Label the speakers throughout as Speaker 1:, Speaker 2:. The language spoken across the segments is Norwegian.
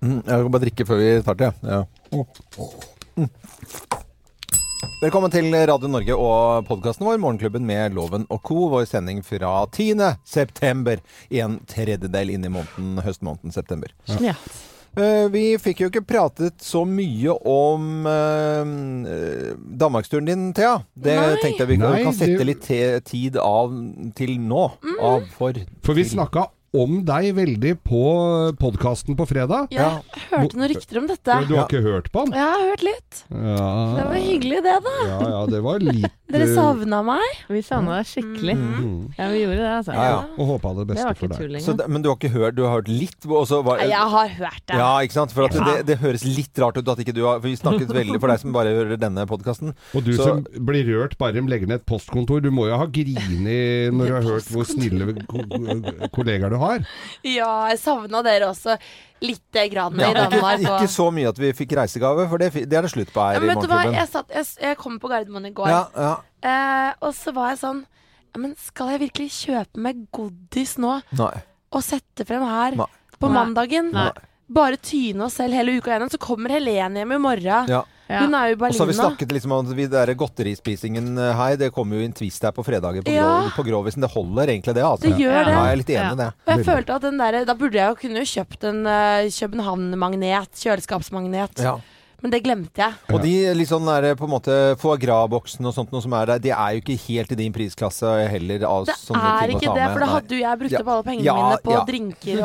Speaker 1: Mm, jeg kan bare drikke før vi starter. jeg. Ja. Mm. Velkommen til Radio Norge og podkasten vår, Morgenklubben med Loven og co. Vår sending fra 10. september. En tredjedel inn i måneden, høstmåneden september.
Speaker 2: Ja.
Speaker 1: Eh, Vi fikk jo ikke pratet så mye om eh, eh, Danmarksturen din, Thea. Det
Speaker 2: Nei.
Speaker 1: tenkte jeg vi kan,
Speaker 3: Nei,
Speaker 1: kan sette
Speaker 3: det-
Speaker 1: litt te tid av til nå.
Speaker 2: Mm.
Speaker 1: Av for
Speaker 3: For vi
Speaker 1: til.
Speaker 3: snakka om deg veldig på podkasten på fredag.
Speaker 2: Jeg hørte noen rykter om dette.
Speaker 3: Du har ikke hørt på den?
Speaker 2: Ja, jeg har hørt litt. Det
Speaker 3: Ja,
Speaker 2: var hyggelig, det, da.
Speaker 3: ja, ja det var litt
Speaker 2: Dere
Speaker 3: eh,
Speaker 2: savna meg.
Speaker 4: Vi savna deg skikkelig.
Speaker 3: mm,
Speaker 4: Ja, vi gjorde det, altså.
Speaker 1: Ja, ja.
Speaker 3: Og håpa det
Speaker 4: Det
Speaker 3: beste
Speaker 4: var ikke
Speaker 3: for deg.
Speaker 4: tull
Speaker 1: Så,
Speaker 4: lenger.
Speaker 1: det- men du har ikke hørt? Du har hørt litt? og så var-
Speaker 2: Jeg har hørt det.
Speaker 1: Ja, ikke sant? For at
Speaker 2: Ja.
Speaker 1: det, det høres litt rart ut at ikke du har For vi snakket veldig for deg som bare hører denne podkasten.
Speaker 3: Og du
Speaker 1: Så-
Speaker 3: som blir rørt bare om legger ned et postkontor, du må jo ha grini når du har hørt hvor snille ko ko- kollegaer du har.
Speaker 2: Ja, jeg savna dere også lite grann i
Speaker 1: ikke,
Speaker 2: Danmark. og-
Speaker 1: ikke så mye at vi fikk reisegave, for det, fi- det er det slutt på
Speaker 2: Ja,
Speaker 1: her
Speaker 2: men
Speaker 1: i
Speaker 2: vet du hva,
Speaker 1: Morgenklubben.
Speaker 2: jeg, satt, jeg, s- jeg kom på Gardermoen i går,
Speaker 1: Ja, ja.
Speaker 2: eh, og så var jeg sånn ja, Men skal jeg virkelig kjøpe meg godis nå
Speaker 1: Nei.
Speaker 2: og sette frem her
Speaker 1: Nei.
Speaker 2: på
Speaker 4: Nei.
Speaker 2: mandagen?
Speaker 4: Nei.
Speaker 2: Bare tyne oss selv hele uka gjennom. Så kommer Helene hjem i morgen.
Speaker 1: Ja.
Speaker 4: Ja.
Speaker 2: Hun er jo i
Speaker 1: Og så har vi
Speaker 2: Berlin nå.
Speaker 1: snakket liksom om at vi- der godterispisingen eh, her. Det kommer jo en twist her på fredager på, grov,
Speaker 2: Ja.
Speaker 1: på Grovisen. Det holder egentlig, det. Altså.
Speaker 2: Det
Speaker 1: Ja,
Speaker 2: gjør det.
Speaker 1: jeg er litt enig i det.
Speaker 2: Og jeg
Speaker 3: Veldig.
Speaker 2: følte at den der, Da burde jeg jo kunne jo kjøpt en eh, København-magnet, kjøleskapsmagnet,
Speaker 1: Ja.
Speaker 2: men det glemte jeg.
Speaker 1: Og de litt sånn der, på en måte foie gras-boksen og sånt noe som er der, de er jo ikke helt i din prisklasse heller. Av
Speaker 2: Det
Speaker 1: sånne
Speaker 2: er
Speaker 1: ting å
Speaker 2: ikke
Speaker 1: ta
Speaker 2: det,
Speaker 1: med.
Speaker 2: for da
Speaker 1: Nei.
Speaker 2: hadde jo jeg brukt
Speaker 1: Ja.
Speaker 2: opp alle pengene
Speaker 1: Ja,
Speaker 2: mine på
Speaker 1: ja.
Speaker 2: drinker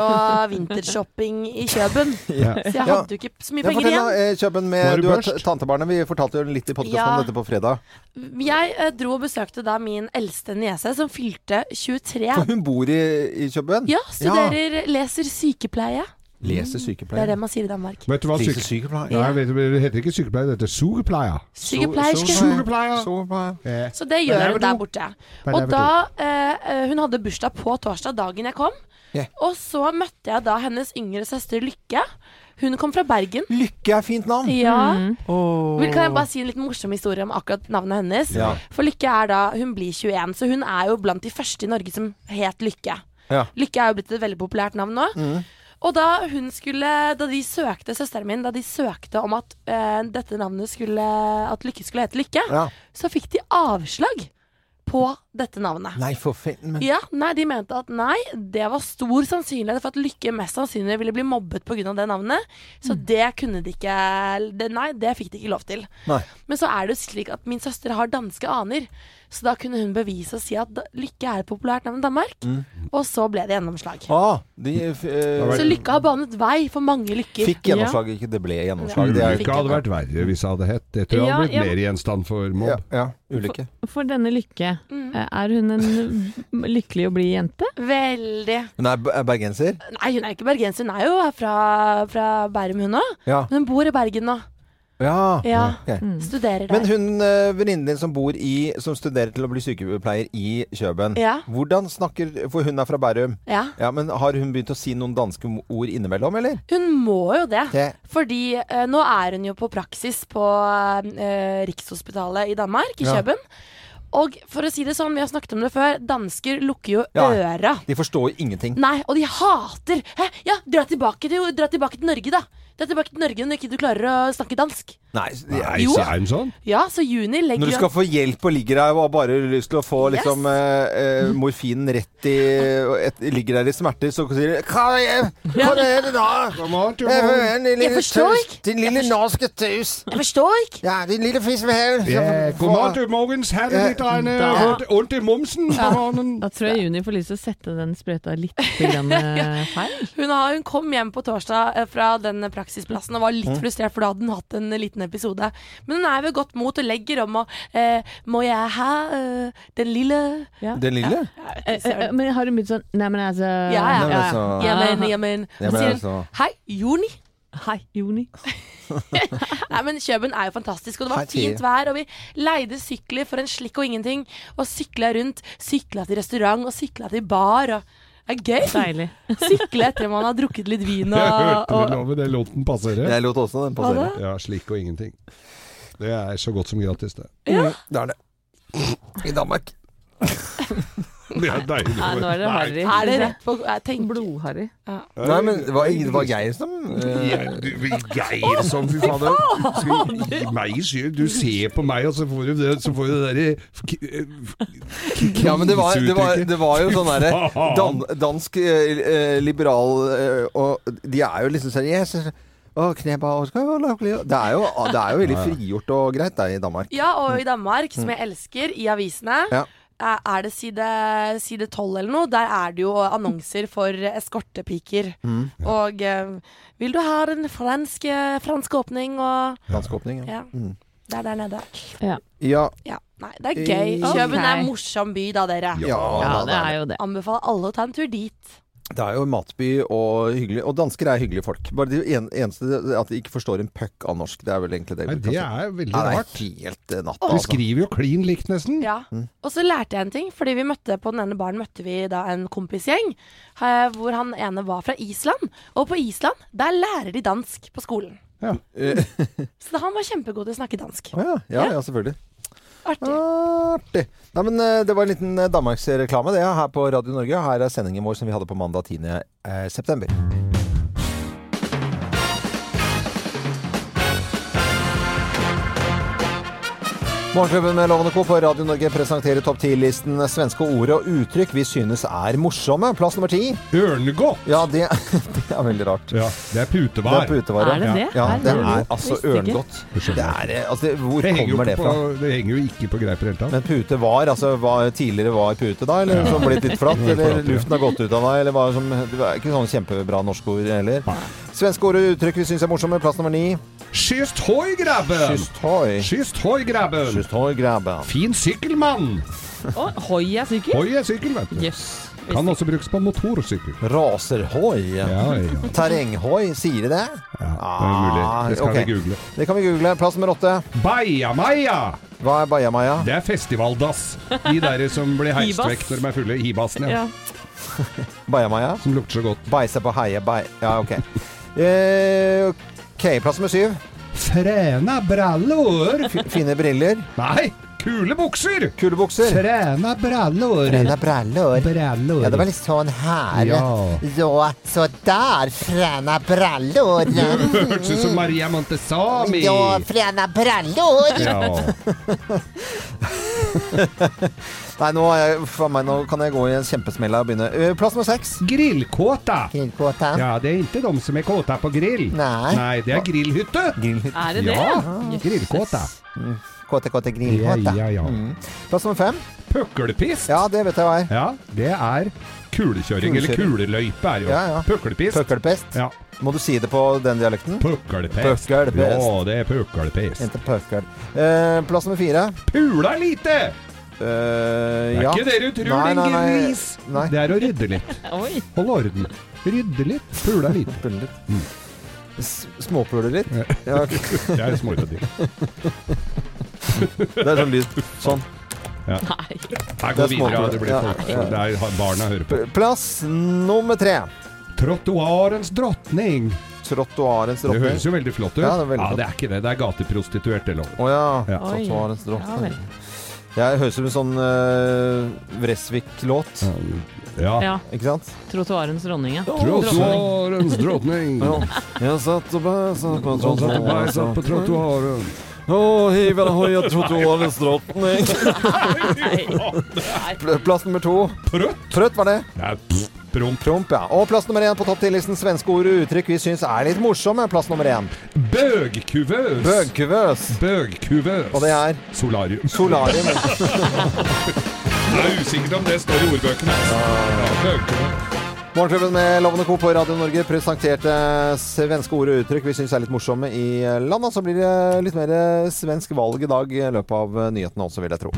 Speaker 2: og vintershopping i Kjøben.
Speaker 3: Ja.
Speaker 2: Så jeg
Speaker 1: Ja.
Speaker 2: hadde jo ikke så mye
Speaker 1: Ja,
Speaker 2: penger
Speaker 1: fortell da,
Speaker 2: igjen.
Speaker 1: eh, Kjøben
Speaker 3: Nå er
Speaker 1: med
Speaker 3: du
Speaker 1: du har
Speaker 3: børst.
Speaker 1: tantebarnet. Vi fortalte jo litt i podkasten
Speaker 2: Ja.
Speaker 1: om dette på fredag.
Speaker 2: Jeg eh, dro og besøkte da min eldste niese, som fylte 23.
Speaker 1: For hun bor i, i Kjøben?
Speaker 2: Ja, studerer, leser sykepleie.
Speaker 1: Leser
Speaker 2: Det er
Speaker 1: sykepleier.
Speaker 2: det man sier i Danmark.
Speaker 3: Vet du hva
Speaker 1: Leser
Speaker 3: syk...
Speaker 1: sykepleier.
Speaker 3: Nei, vet du, det heter ikke sykepleier, det heter sugepleier.
Speaker 2: Sykepleierske.
Speaker 3: så- Sykepleier. Eh,
Speaker 2: Så det
Speaker 3: Der er
Speaker 2: gjør
Speaker 3: vi
Speaker 2: hun der
Speaker 3: to.
Speaker 2: borte.
Speaker 3: Der er
Speaker 2: Og
Speaker 3: vi
Speaker 2: da eh, Hun hadde bursdag på torsdag, dagen jeg kom.
Speaker 1: Ja.
Speaker 2: Og så møtte jeg da hennes yngre søster Lykke. Hun kom fra Bergen.
Speaker 1: Lykke er fint navn!
Speaker 2: Ja.
Speaker 4: Mm.
Speaker 2: Vil, kan jeg bare si en litt morsom historie om akkurat navnet hennes?
Speaker 1: Ja.
Speaker 2: For Lykke er da Hun blir 21, så hun er jo blant de første i Norge som het Lykke.
Speaker 1: Ja.
Speaker 2: Lykke er jo blitt et veldig populært navn nå.
Speaker 1: Mm.
Speaker 2: Og da hun skulle Da de søkte, søsteren min, da de søkte om at eh, dette navnet skulle At Lykke skulle hete Lykke,
Speaker 1: Ja.
Speaker 2: så fikk de avslag på dette navnet.
Speaker 1: Nei, for fint men...
Speaker 2: Ja, nei, De mente at nei, det var stor sannsynlighet for at Lykke mest sannsynlig ville bli mobbet pga. det navnet. Så
Speaker 1: Mm.
Speaker 2: det kunne de ikke det, Nei, det fikk de ikke lov til.
Speaker 1: Nei.
Speaker 2: Men så er det jo slik at min søster har danske aner, så da kunne hun bevise og si at da- Lykke er et populært navn i Danmark.
Speaker 1: Mm.
Speaker 2: Og så ble det gjennomslag.
Speaker 1: Ah, de f- eh,
Speaker 2: Så Lykke har banet vei for mange lykker.
Speaker 1: fikk gjennomslag, ikke det ble gjennomslag. Det er,
Speaker 3: Ulykka hadde vært verre hvis det hadde hett. Det tror jeg
Speaker 4: Ja,
Speaker 3: hadde blitt
Speaker 4: ja.
Speaker 3: mer gjenstand for
Speaker 1: ja,
Speaker 3: mobb.
Speaker 1: ja, ulykke.
Speaker 4: For denne Lykke, eh, er hun en lykkelig å bli jente?
Speaker 2: Veldig.
Speaker 1: Hun er b- bergenser?
Speaker 2: Nei, hun er ikke bergenser, hun er jo fra, fra Bærum, hun òg.
Speaker 1: Ja.
Speaker 2: Men hun bor i Bergen nå.
Speaker 1: ja.
Speaker 2: Ja. Mm.
Speaker 1: Ok.
Speaker 2: Studerer
Speaker 1: Mm. Men
Speaker 2: der.
Speaker 1: hun eh, venninnen din som bor i Som studerer til å bli sykepleier i Kjøben,
Speaker 2: Ja.
Speaker 1: hvordan snakker For hun er fra Bærum.
Speaker 2: Ja.
Speaker 1: Ja, men Har hun begynt å si noen danske ord innimellom, eller?
Speaker 2: Hun må jo det.
Speaker 1: Det-
Speaker 2: Fordi eh, nå er hun jo på praksis på eh, Rikshospitalet i Danmark, i
Speaker 1: Ja.
Speaker 2: Køben. Og for å si det sånn, vi har snakket om det før, dansker lukker jo
Speaker 1: Ja.
Speaker 2: øra.
Speaker 1: De forstår jo ingenting.
Speaker 2: Nei, og de hater Hæ, ja, dra tilbake til, dra tilbake til Norge, da. Dra tilbake til Norge når ikke du klarer å snakke dansk.
Speaker 1: Nei, s-
Speaker 3: Nei,
Speaker 2: Jo.
Speaker 3: så er hun sånn.
Speaker 2: Ja, så Juni
Speaker 1: Når
Speaker 2: legger
Speaker 1: du skal få hjelp og ligger der og har bare lyst til å få
Speaker 2: Yes.
Speaker 1: liksom, eh, eh, morfinen rett i og et, Ligger der i smerter, så sier du Hva er hva er det da? Jeg hører din
Speaker 2: Jeg
Speaker 1: lille
Speaker 2: forstår
Speaker 1: taus,
Speaker 2: ikke.
Speaker 1: din lille norske taus.
Speaker 2: Jeg forstår ikke!
Speaker 1: Ja, din lille fisvehel.
Speaker 3: Ja, god morgen, morgens. Her er litt regne. Vondt- Vondt i momsen på morgenen.
Speaker 4: Da tror jeg Juni får lyst til å sette den sprøyta litt grann, eh, feil.
Speaker 2: Hun, har, hun kom hjem på torsdag eh, fra den praksisplassen og var litt frustrert, for da hadde hun hatt en liten episode. Men hun er ved godt mot og legger om og eh, Må jeg ha eh, den lille
Speaker 4: Ja.
Speaker 1: Den lille?
Speaker 4: Eh, eh, eh, men har hun begynt sånn Nei, men altså
Speaker 2: Ja, ja.
Speaker 1: Nei, men altså-
Speaker 2: Jamen, jamen.
Speaker 1: Ja,
Speaker 2: Og
Speaker 1: men
Speaker 2: sier hun
Speaker 1: altså-
Speaker 2: hei, Juni.
Speaker 4: Hei, Juni.
Speaker 2: Nei, men Kjøben er jo fantastisk, og det
Speaker 1: Hei,
Speaker 2: var
Speaker 1: Tia.
Speaker 2: fint vær. Og vi leide sykler for en slikk og ingenting. Og sykla rundt. Sykla til restaurant, og sykla til bar. Og det er gøy.
Speaker 4: Deilig.
Speaker 2: Sykle etter man har drukket litt vin
Speaker 3: Jeg
Speaker 2: og,
Speaker 3: hørte
Speaker 2: og
Speaker 3: det, Loven. Den låten passerer.
Speaker 1: Jeg lot også den passere.
Speaker 3: Ja, slik og ingenting. Det er så godt som gratis, det.
Speaker 1: Det er det. I Danmark.
Speaker 3: Det er deilig.
Speaker 4: Nei, nå er det harry.
Speaker 2: Er det rett på jeg tenker-
Speaker 4: Blodharry.
Speaker 1: Nei, men det var, det var Geir som eh,
Speaker 3: Jeg, du, Geir som fy fader. Skal gi- gi meg skyld. Du ser på meg, og så får du det, så får du det derre eh,
Speaker 1: Ja, men det var, det var, det var jo sånn derre
Speaker 3: Fy faen.
Speaker 1: dan, Dansk eh, eh, liberal eh, og De er jo liksom sånn yes, å, kneba, å, skal jo lage- det, er jo, det er jo veldig frigjort og greit der i Danmark.
Speaker 2: Ja, og i Danmark, som jeg elsker, i avisene
Speaker 1: Mm. Ja.
Speaker 2: Er Eh, er det side, side 12 eller noe? Der er det jo annonser for eskortepiker. Og eh, vil du ha den franske, franske åpning og
Speaker 1: Dansk åpning. Ja.
Speaker 2: Ja. Det er der nede.
Speaker 1: ja.
Speaker 2: Ja. Nei, det er gøy.
Speaker 1: Ok.
Speaker 2: Kjøben er en morsom by, da, dere.
Speaker 3: Ja.
Speaker 4: Ja,
Speaker 1: da,
Speaker 4: det
Speaker 1: da,
Speaker 4: er jo det.
Speaker 2: Anbefaler alle å ta en tur dit.
Speaker 1: Det er jo matby og hyggelig. Og dansker er hyggelige folk. Bare det en, eneste at de ikke forstår en puck av norsk. Det er vel egentlig det.
Speaker 3: Nei,
Speaker 1: vi kan si.
Speaker 3: det er veldig
Speaker 1: Ja, det
Speaker 3: rart.
Speaker 1: er helt eh, natta.
Speaker 3: Vi
Speaker 1: Altså.
Speaker 3: skriver jo klin likt, nesten.
Speaker 2: Ja. Og så lærte jeg en ting, fordi vi møtte på den ene baren møtte vi da en kompisgjeng, eh, hvor han ene var fra Island. Og på Island, der lærer de dansk på skolen.
Speaker 3: Ja.
Speaker 2: Så da han var kjempegod til å snakke dansk.
Speaker 1: Å Eh, ja, ja, ja, selvfølgelig.
Speaker 2: Artig.
Speaker 1: Artig. Nei, men eh, Det var en liten eh, Danmarksreklame det, her på Radio Norge. Her er sendingen vår som vi hadde på mandag 10. eh, september. Morgenklubben med Lovende Co. på Radio Norge presenterer topp 10-listen svenske ord og uttrykk vi synes er morsomme. Plass nummer ti.
Speaker 3: Ørnegodt!
Speaker 1: Ja, det, det er veldig rart.
Speaker 3: Ja, det er
Speaker 1: Det
Speaker 3: putevar.
Speaker 1: er putevare.
Speaker 4: Er det det?
Speaker 1: Ja,
Speaker 4: Er
Speaker 1: det
Speaker 4: det
Speaker 1: er
Speaker 4: det?
Speaker 1: altså
Speaker 4: Visste ikke.
Speaker 1: ørngodt. Det er, eh, altså, hvor
Speaker 3: Det henger, jo
Speaker 1: kommer
Speaker 3: ikke
Speaker 1: det fra?
Speaker 3: På, det henger jo ikke på greip i det hele tatt.
Speaker 1: Men pute var, altså hva tidligere var pute da, eller som blitt litt flatt, eller luften har gått ut av deg, eller hva som Det er ikke sånne kjempebra norske ord heller. Svenske ord og uttrykk vi syns er morsomme. Plass nummer ni.
Speaker 3: Skyst hoi, grabben!
Speaker 1: Kyss toy.
Speaker 3: Skyst hoi, grabben!
Speaker 1: Kyss toy, grabben.
Speaker 3: Fin sykkelmann!
Speaker 4: Å, hoi er sykkel?
Speaker 3: Hoi er sykkel, vet du.
Speaker 4: Jøss.
Speaker 3: Kan også brukes på motorsykkel.
Speaker 1: Raserhoi.
Speaker 3: Ja, ja.
Speaker 1: Terrenghoi, sier de det?
Speaker 3: ja det er mulig. Det skal
Speaker 1: Ah, ok.
Speaker 3: vi google.
Speaker 1: Det kan vi google. Plass nummer åtte.
Speaker 3: Bajamaja!
Speaker 1: Hva er bajamaja?
Speaker 3: Det er festivaldass. De der som blir heist
Speaker 4: Hibas.
Speaker 3: vekk når de er fulle. Hibasen, ja.
Speaker 4: Ja.
Speaker 1: Bajamaja?
Speaker 3: Som lukter så godt.
Speaker 1: Beise på heie, bei... Ja, ok. Eh, ok, plass nummer syv.
Speaker 3: Fræna brallor!
Speaker 1: F fine briller.
Speaker 3: Nei, kule bukser!
Speaker 1: Kule bukser.
Speaker 3: Fræna brallor!
Speaker 1: Fine brallor.
Speaker 3: Brallor.
Speaker 1: Ja, det var litt sånn her.
Speaker 3: Ja.
Speaker 1: Ja, så der, fräna brallor.
Speaker 3: Hørtes ut som Maria Montesami!
Speaker 1: Ja, fräna brallor.
Speaker 3: Ja.
Speaker 1: Nei, nå, er jeg, for meg, nå kan jeg gå i en kjempesmell her og begynne. Ø, Plass nummer seks.
Speaker 3: Grillkåta!
Speaker 1: Grillkåta.
Speaker 3: Ja, det er ikke de som er kåta på grill.
Speaker 1: Nei.
Speaker 3: det er grillhytte!
Speaker 4: Er det det?
Speaker 3: Ja, grillkåta.
Speaker 1: Kåte, kåte,
Speaker 3: Ja,
Speaker 1: grillkåta.
Speaker 3: ja, ja.
Speaker 1: Plass nummer fem.
Speaker 3: Pøkkelpist!
Speaker 1: Ja, det vet jeg hva er.
Speaker 3: Ja, det er kulekjøring, eller
Speaker 1: Kulekjøring.
Speaker 3: kuleløype er jo.
Speaker 1: Ja, ja.
Speaker 3: Pøkkelpist.
Speaker 1: Pøkkelpest.
Speaker 3: Ja.
Speaker 1: Må du si det på den dialekten?
Speaker 3: Pøkkelpest.
Speaker 1: Pøkkelpest.
Speaker 3: Ja, det er pøkkelpest.
Speaker 1: Ikke pøkkel. Eh, plass nummer fire.
Speaker 3: Pula lite!
Speaker 1: Eh,
Speaker 3: Det er
Speaker 1: ja.
Speaker 3: ikke det du tror,
Speaker 1: Nei,
Speaker 3: din
Speaker 1: nei, nei.
Speaker 3: gris!
Speaker 1: Nei.
Speaker 3: Det er å rydde litt.
Speaker 4: Oi.
Speaker 3: Holde orden. Rydde litt, pula litt.
Speaker 1: Pulle litt.
Speaker 3: Mm.
Speaker 1: S- Småpulle litt. Ja, ok.
Speaker 3: Det er småryddig.
Speaker 1: Det er sånn lyd. Sånn.
Speaker 4: Nei.
Speaker 3: Her går
Speaker 1: Det er
Speaker 3: vi videre,
Speaker 1: småpula.
Speaker 3: det
Speaker 1: Ja,
Speaker 3: blir folk.
Speaker 1: ja.
Speaker 3: Det er barna hører på.
Speaker 1: P- Plass nummer tre.
Speaker 3: Trottoarens drottning.
Speaker 1: Trottoarens
Speaker 3: Det
Speaker 1: drottning.
Speaker 3: høres jo veldig flott ut.
Speaker 1: Ja, det er veldig
Speaker 3: Ja, det er ikke det. Det er gateprostituert, eller
Speaker 1: Å ja.
Speaker 3: Ja.
Speaker 4: Oi.
Speaker 1: Trottoarens
Speaker 4: Ja vel.
Speaker 1: drottning. Jeg høres ut som en sånn eh, Vresvik-låt.
Speaker 3: noe. Ja.
Speaker 4: Ja.
Speaker 1: Ikke sant?
Speaker 4: Trottoarens dronning, ja.
Speaker 3: Trottoarens drottning.
Speaker 1: Jeg satt og bæsa på
Speaker 3: Han satt og bæsset på trottoaren.
Speaker 1: Og hiver hoia trottoarens drottning. Pl- Plass nummer to.
Speaker 3: Prøtt?
Speaker 1: Trøtt var det.
Speaker 3: Nei, pff, promp.
Speaker 1: Promp, ja. Og plass nummer én på topp 10-listen svenske ord og uttrykk vi syns er litt morsomme. Plass nummer én.
Speaker 3: Bøgkuvøs.
Speaker 1: Bøgkuvøs.
Speaker 3: Bøgkuvøs.
Speaker 1: Og det er
Speaker 3: Solarium.
Speaker 1: solarium.
Speaker 3: Det er usikkert om det står i ordbøkene. altså. Ja, bøgkuvøs.
Speaker 1: Morgenklubben med Lovende Co. på Radio Norge presenterte svenske ord og uttrykk vi syns er litt morsomme i landet. Så blir det litt mer svensk valg i dag i løpet av nyhetene også, vil jeg tro.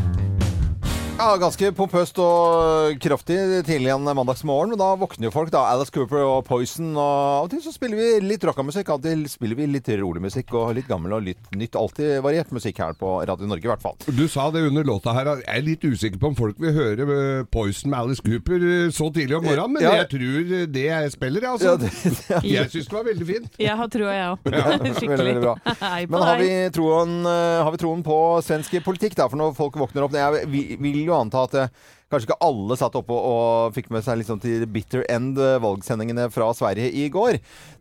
Speaker 1: Ja, Ganske pompøst og kraftig tidlig en mandagsmorgen. men Da våkner jo folk. da, Alice Cooper og Poison. og Av og til så spiller vi litt rockamusikk, av og til spiller vi litt rolig musikk og litt gammel og litt nytt. Alltid variert musikk her på Radio Norge, i hvert fall.
Speaker 3: Du sa det under låta her, at jeg er litt usikker på om folk vil høre eh, Poison med Alice Cooper eh, så tidlig om morgenen, men
Speaker 1: Ja.
Speaker 3: jeg tror eh, det jeg spiller, jeg, altså.
Speaker 1: Ja, det, det
Speaker 3: Jeg syns det var veldig fint.
Speaker 4: Jeg har trua, jeg òg.
Speaker 1: veldig, veldig bra.
Speaker 4: Hei på
Speaker 1: Men har
Speaker 4: deg.
Speaker 1: vi, troen, eh, har vi troen på svensk politikk, da? For når folk våkner opp Jeg vil, vil jo anta at eh, Kanskje ikke alle satt oppe og fikk med seg liksom til bitter end eh, valgsendingene fra Sverige i går.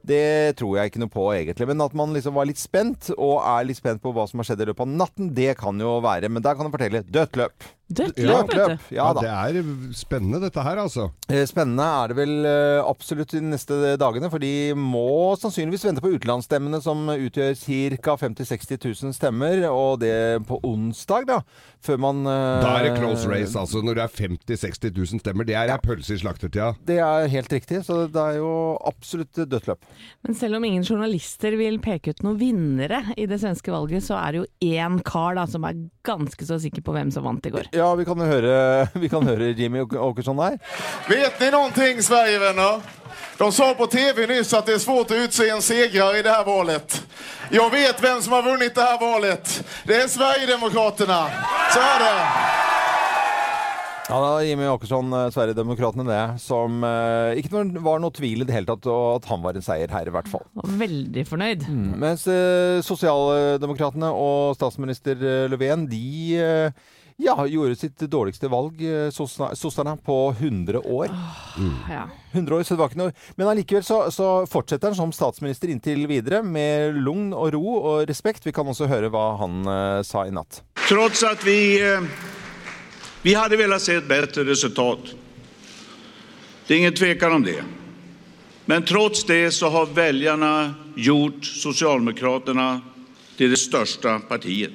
Speaker 1: Det tror jeg ikke noe på egentlig. Men at man liksom var litt spent, og er litt spent på hva som har skjedd i løpet av natten, det kan jo være. Men der kan du fortelle dødt løp.
Speaker 4: Dødt
Speaker 3: Ja,
Speaker 4: løp, vet du.
Speaker 1: Ja da.
Speaker 3: det er spennende dette her, altså.
Speaker 1: Eh, Spennende er det vel eh, absolutt de neste dagene, for de må sannsynligvis vente på utenlandsstemmene, som utgjør ca. 50 000-60 000 stemmer, og det på onsdag, da. Før man eh,
Speaker 3: Da er det close race, altså. Når det er 50 000-60 000 stemmer. Det er ei pølse i slaktertida.
Speaker 1: Det er helt riktig, så det er jo absolutt dødt løp.
Speaker 4: Men selv om ingen journalister vil peke ut noen vinnere i det svenske valget, så er det jo én kar da som er ganske så sikker på hvem som vant i går.
Speaker 1: Ja, vi kan høre, vi kan høre Jimmy Åk- Åkesson her.
Speaker 5: Vet ni någonting Sverigevänner? De sa på TV nyss att det är svårt att utse en segrare i det här valet. Jag vet vem som har vunnit det här valet. Det är Sverigedemokraterna. Så är det.
Speaker 1: Ja, det var Jimmy Åkesson, eh, Sverigedemokraterna, det. Som eh, ikke noe- var noe tvil i det hele tatt, og at han var en seier her, i hvert fall.
Speaker 4: Og veldig fornøyd.
Speaker 1: Mens eh, sosialdemokratene og statsminister eh, Löfven, de eh, ja, gjorde sitt dårligste valg, eh, sosna- sosserne, på 100 år.
Speaker 4: Ah, Ja.
Speaker 1: 100 år, så det var ikke noe. Men allikevel så, så fortsetter han som statsminister inntil videre, med lugn og ro og respekt. Vi kan også høre hva han eh, sa i natt.
Speaker 6: Trots att vi, eh, vi hade velat se ett bättre resultat. Det är ingen tvekan om det. Men trots det så har väljarna gjort Socialdemokraterna till det största partiet.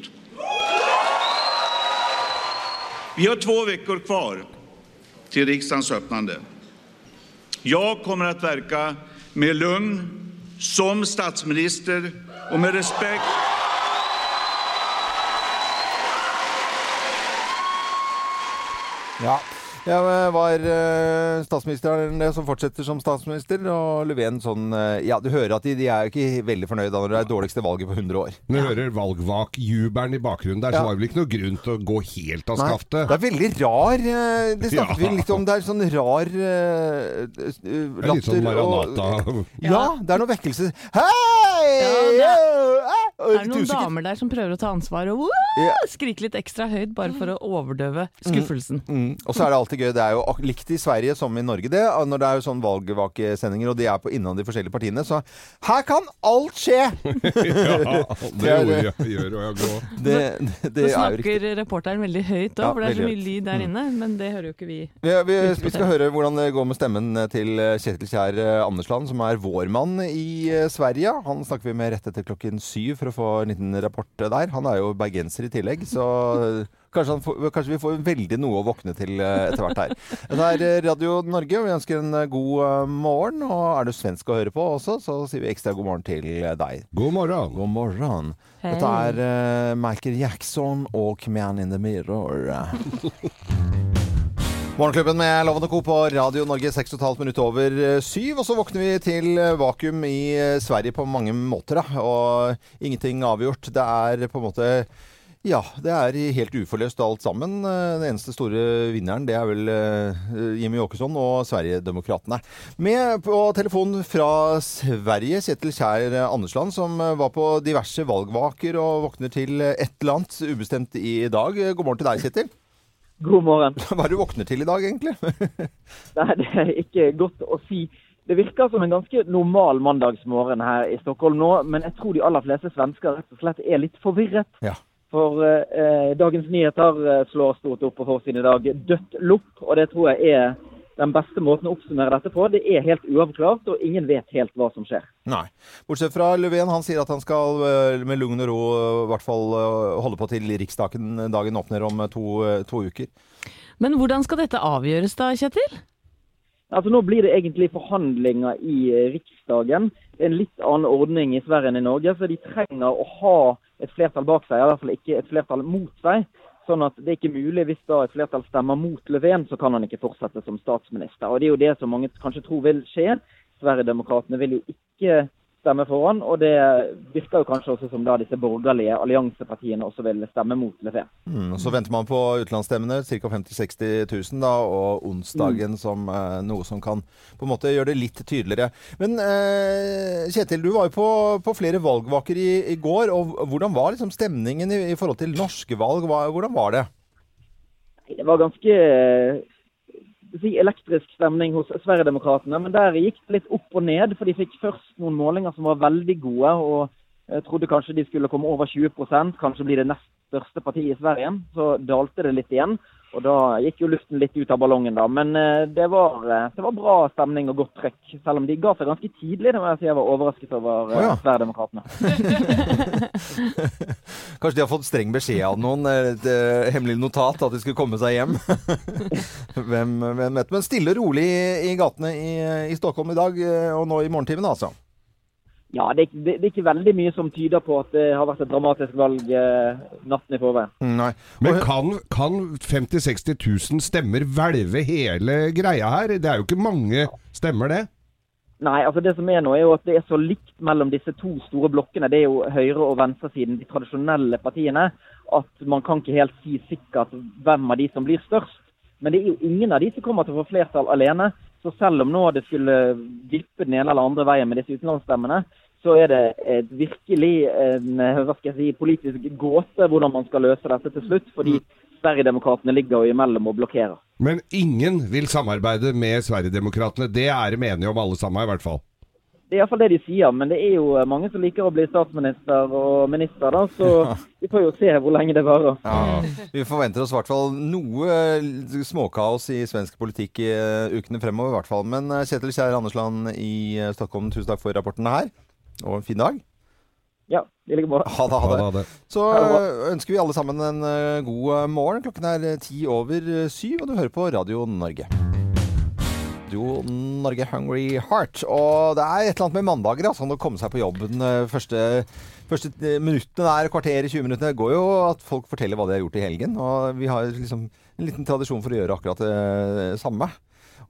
Speaker 6: Vi har två veckor kvar till riksdagens öppnande. Jag kommer att verka med lugn, som statsminister och med respekt
Speaker 1: Ja. Jeg var eh, statsministeren det som fortsetter som statsminister, og Löfven sånn eh, Ja, du hører at de, de er jo ikke veldig fornøyde da når det er dårligste valget på 100 år.
Speaker 3: Når du hører valgvakjubelen i bakgrunnen der,
Speaker 1: Ja.
Speaker 3: så var det vel ikke noe grunn til å gå helt av
Speaker 1: Nei, Det
Speaker 3: skaftet.
Speaker 1: er veldig rar eh, Det snakket
Speaker 3: Ja.
Speaker 1: vi litt om. Det er sånn rar eh, eh,
Speaker 3: Det er litt sånn
Speaker 1: latter og-
Speaker 3: Maranata.
Speaker 1: Ja, det er noe vekkelse. Hei!
Speaker 4: Ja,
Speaker 1: eh, eh,
Speaker 4: Er det noen
Speaker 1: usikker.
Speaker 4: damer der som prøver å ta ansvar og
Speaker 1: Ja.
Speaker 4: skrike litt ekstra høyt bare for å overdøve skuffelsen?
Speaker 1: Mm. Og så er det alltid gøy. Det er jo ak- likt i Sverige som i Norge, det. og Når det er jo sånn valgvakesendinger, og de er på innan de forskjellige partiene, så her kan alt skje!
Speaker 3: Ja, det
Speaker 1: er
Speaker 3: gjorde
Speaker 1: det.
Speaker 3: jeg- gjør og jeg går.
Speaker 1: Det, det
Speaker 4: Nå
Speaker 1: er jo riktig.
Speaker 4: snakker reporteren veldig høyt òg,
Speaker 1: Ja,
Speaker 4: for det er så
Speaker 1: veldig Mm.
Speaker 4: mye lyd der inne. Men det hører jo ikke vi.
Speaker 1: Vi, vi, vi skal høre hvordan det går med stemmen til eh, Kjetil Kjær eh, Andersland, som er vår mann i eh, Sverige. Han snakker vi med rett etter klokken syv for å få en liten rapport eh, der. Han er jo bergenser i tillegg, så eh, kanskje, han får, kanskje vi får veldig noe å våkne til eh, etter hvert her. Det er eh, Radio Norge, og vi ønsker en eh, god eh, morgen. Og er du svensk å høre på også, så sier vi ekstra god morgen til eh, deg.
Speaker 3: God morgen.
Speaker 1: God morgen.
Speaker 4: Hei.
Speaker 1: Dette er eh, Michael Jackson og Man in the Mirror. Morgenklubben med Lovende Co. på Radio Norge 6,5 minutter over eh, syv. Og så våkner vi til eh, vakuum i eh, Sverige på mange måter, da. Og ingenting avgjort. Det er på en måte ja, det er helt uforløst alt sammen. Eh, Den eneste store vinneren det er vel eh, Jimmy Åkesson og Sverigedemokraterna. Med på telefon fra Sverige, Kjetil Kjær Andersland, som eh, var på diverse valgvaker og våkner til eh, et eller annet ubestemt i dag. Eh, God morgen til deg, Kjetil.
Speaker 7: God morgen.
Speaker 1: Hva er det du våkner til i dag, egentlig?
Speaker 7: Nei, det er ikke godt å si. Det virker som en ganske normal mandagsmorgen her i Stockholm nå, men jeg tror de aller fleste svensker rett og slett er litt forvirret.
Speaker 1: Ja.
Speaker 7: For eh, Dagens Nyheter eh, slår stort opp på forsiden i dag. Dødt lopp. Og det tror jeg er den beste måten å oppsummere dette på. Det er helt uavklart, og ingen vet helt hva som skjer.
Speaker 1: Nei. Bortsett fra Löfven, han sier at han skal eh, med lugn og ro eh, i hvert fall eh, holde på til Riksdagen dagen åpner om eh, to, eh, to uker.
Speaker 4: Men hvordan skal dette avgjøres da, Kjetil?
Speaker 7: Altså Nå blir det egentlig forhandlinger i eh, Riksdagen. Det er en litt annen ordning i Sverige enn i Norge, så de trenger å ha et flertall bak seg, i hvert fall ikke et flertall mot seg. Sånn at det er ikke mulig hvis da et flertall stemmer mot Löfven, så kan han ikke fortsette som statsminister. Og Det er jo det som mange kanskje tror vil skje. Sverigedemokraterna vil jo ikke stemme for han, og det virker jo kanskje også som da disse borgerlige alliansepartiene også vil stemme mot Löfven.
Speaker 1: Mm, og så venter man på utenlandsstemmene, ca. 50 000-60 000, da, og onsdagen som eh, noe som kan på en måte gjøre det litt tydeligere. Men eh, Kjetil, du var jo på, på flere valgvaker i, i går, og hvordan var liksom, stemningen i, i forhold til norske valg? Hva, hvordan var det?
Speaker 7: Nei, Det var ganske eh, si, elektrisk stemning hos Sverigedemokraterna, men der gikk det litt opp og ned. For de fikk først noen målinger som var veldig gode, og eh, trodde kanskje de skulle komme over 20 kanskje bli det nest største partiet i Sverige. Så dalte det litt igjen, og da gikk jo luften litt ut av ballongen, da. Men eh, det var, eh, det var bra stemning og godt trøkk, selv om de ga seg ganske tidlig. Det må jeg si jeg var overrasket over
Speaker 1: Å
Speaker 7: eh,
Speaker 1: ja.
Speaker 7: Sverigedemokraterna.
Speaker 1: Kanskje de har fått streng beskjed av noen, eh, et eh, hemmelig notat, at de skulle komme seg hjem. hvem, hvem vet. Men stille og rolig i, i gatene i, i Stockholm i dag, eh, og nå i morgentimene, altså.
Speaker 7: Ja, det, er- det, det er ikke veldig mye som tyder på at det har vært et dramatisk valg eh, natten i forveien.
Speaker 1: Nei.
Speaker 3: Men kan, kan 50 000-60 000 stemmer hvelve hele greia her? Det er jo ikke mange stemmer, det.
Speaker 7: Nei, altså det som er nå er jo at det er så likt mellom disse to store blokkene. Det er jo høyre- og venstresiden, de tradisjonelle partiene, at man kan ikke helt si sikkert hvem av de som blir størst. Men det er jo ingen av de som kommer til å få flertall alene. Så selv om nå det skulle vippe den ene eller andre veien med disse utenlandsstemmene, så er det et virkelig en eh, hva skal jeg si, politisk gåte hvordan man skal løse dette til slutt. Fordi
Speaker 1: Mm.
Speaker 7: Sverigedemokraterna ligger jo imellom og blokkerer.
Speaker 3: Men ingen vil samarbeide med Sverigedemokraterna. Det er de enige om alle sammen, i hvert fall.
Speaker 7: Det er iallfall det de sier, men det er jo eh, mange som liker å bli statsminister og minister, da. Så vi får jo se hvor lenge det varer.
Speaker 1: Ja. Vi forventer oss i hvert fall noe eh, småkaos i svensk politikk i eh, ukene fremover. i hvert fall. Men eh, Kjetil Kjær Andersland i eh, Stockholm, tusen takk for rapporten her. Og en fin dag.
Speaker 7: Ja, det ligger bra.
Speaker 1: Ha det, ha det.
Speaker 3: Ja, da, det.
Speaker 1: Så
Speaker 7: Ha det bra.
Speaker 1: eh, ønsker vi alle sammen en eh, god eh, morgen. Klokken er eh, ti over eh, syv, og du hører på Radio Norge. Radio Norge Hungry Heart. Og det er et eller annet med mandager, altså. Å komme seg på jobb den eh, første, første eh, minuttene der, kvarteret, 20 minuttene, det går jo at folk forteller hva de har gjort i helgen. Og vi har liksom en liten tradisjon for å gjøre akkurat det samme.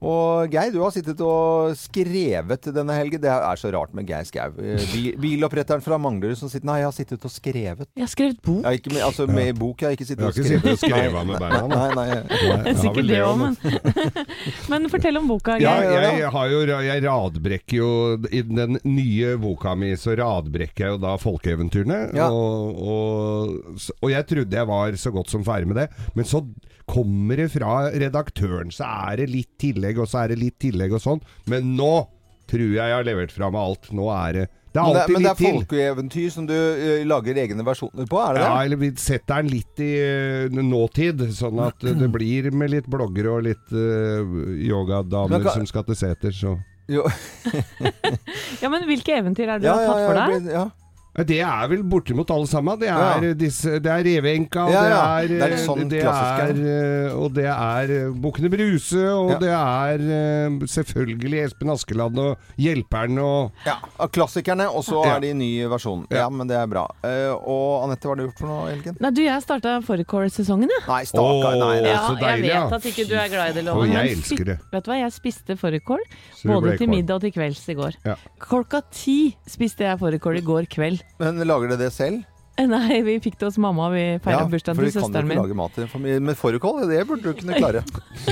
Speaker 1: Og Geir, du har sittet og skrevet denne helgen. Det er så rart med Geir Skau. Eh, bi- Biloppretteren fra Manglerud som sitter Nei, jeg har sittet og skrevet.
Speaker 4: Jeg har skrevet bok.
Speaker 1: Ja, ikke med, altså med bok, jeg har ikke sittet
Speaker 3: Jeg har ikke sittet og skrevet med beina.
Speaker 1: Nei, nei, nei.
Speaker 3: Jeg har vel
Speaker 4: Sikkert det òg,
Speaker 3: også,
Speaker 4: men Men fortell om boka,
Speaker 3: Ja,
Speaker 4: Geir.
Speaker 3: jeg, har jo, jeg radbrekker jo I den nye boka mi så radbrekker jeg jo da folkeeventyrene.
Speaker 1: Ja.
Speaker 3: Og, og, og jeg trodde jeg var så godt som ferdig med det, men så kommer det fra redaktøren, så er det litt tillegg, og så er det litt tillegg og sånn. Men nå tror jeg jeg har levert fra meg alt. Nå er det
Speaker 1: Men
Speaker 3: Det er
Speaker 1: det,
Speaker 3: alltid
Speaker 1: men det er
Speaker 3: litt til.
Speaker 1: folkeeventyr som du ø, lager egne versjoner på, er det det?
Speaker 3: Ja, eller vi setter den litt i eh, nåtid, sånn at eh, det blir med litt bloggere og litt eh,
Speaker 1: Men
Speaker 3: yogadamer
Speaker 1: kan-
Speaker 3: som skal til seters og
Speaker 1: Jo.
Speaker 4: Ja, men hvilke eventyr er det du
Speaker 1: Ja,
Speaker 4: har tatt for
Speaker 1: ja,
Speaker 4: deg?
Speaker 1: det blir- ja.
Speaker 3: Ja, Det er vel bortimot alle sammen. Det er, eh,
Speaker 1: Ja.
Speaker 3: disse, det er Revenka, og
Speaker 1: Ja, ja.
Speaker 3: det er, eh,
Speaker 1: Det er litt sånn
Speaker 3: det
Speaker 1: klassisk,
Speaker 3: er, eh, Og det er eh, Bukkene Bruse, og
Speaker 1: Ja.
Speaker 3: det er eh, selvfølgelig Espen Askeland og Hjelperen og
Speaker 1: ja. av Klassikerne, og så
Speaker 3: Ja.
Speaker 1: er de i ny versjon. Ja,
Speaker 3: Ja.
Speaker 1: men det er bra. Eh, og Anette, hva har du gjort for noe, Elgen?
Speaker 4: Nei, du, jeg starta Forecore-sesongen, jeg.
Speaker 1: Nei, stakkar, nei. nei.
Speaker 3: Ja, så deilig,
Speaker 4: jeg
Speaker 3: ja.
Speaker 4: vet at ikke du er glad i det,
Speaker 3: Og
Speaker 4: Loven.
Speaker 3: jeg
Speaker 4: men
Speaker 3: elsker
Speaker 4: fy-
Speaker 3: det.
Speaker 4: Vet du hva, jeg spiste fårikål
Speaker 3: Så det
Speaker 4: både
Speaker 3: ble
Speaker 4: til
Speaker 3: kål.
Speaker 4: middag og til kvelds i går.
Speaker 3: Ja.
Speaker 4: Klokka ti spiste jeg fårikål i går kveld.
Speaker 1: Men lager dere det selv?
Speaker 4: Nei, vi fikk det hos mamma, vi feira bursdagen
Speaker 1: for
Speaker 4: til
Speaker 1: vi kan jo
Speaker 4: søsteren
Speaker 1: ikke
Speaker 4: min.
Speaker 1: lage mat til en familie. Men fårikål, det burde du kunne klare.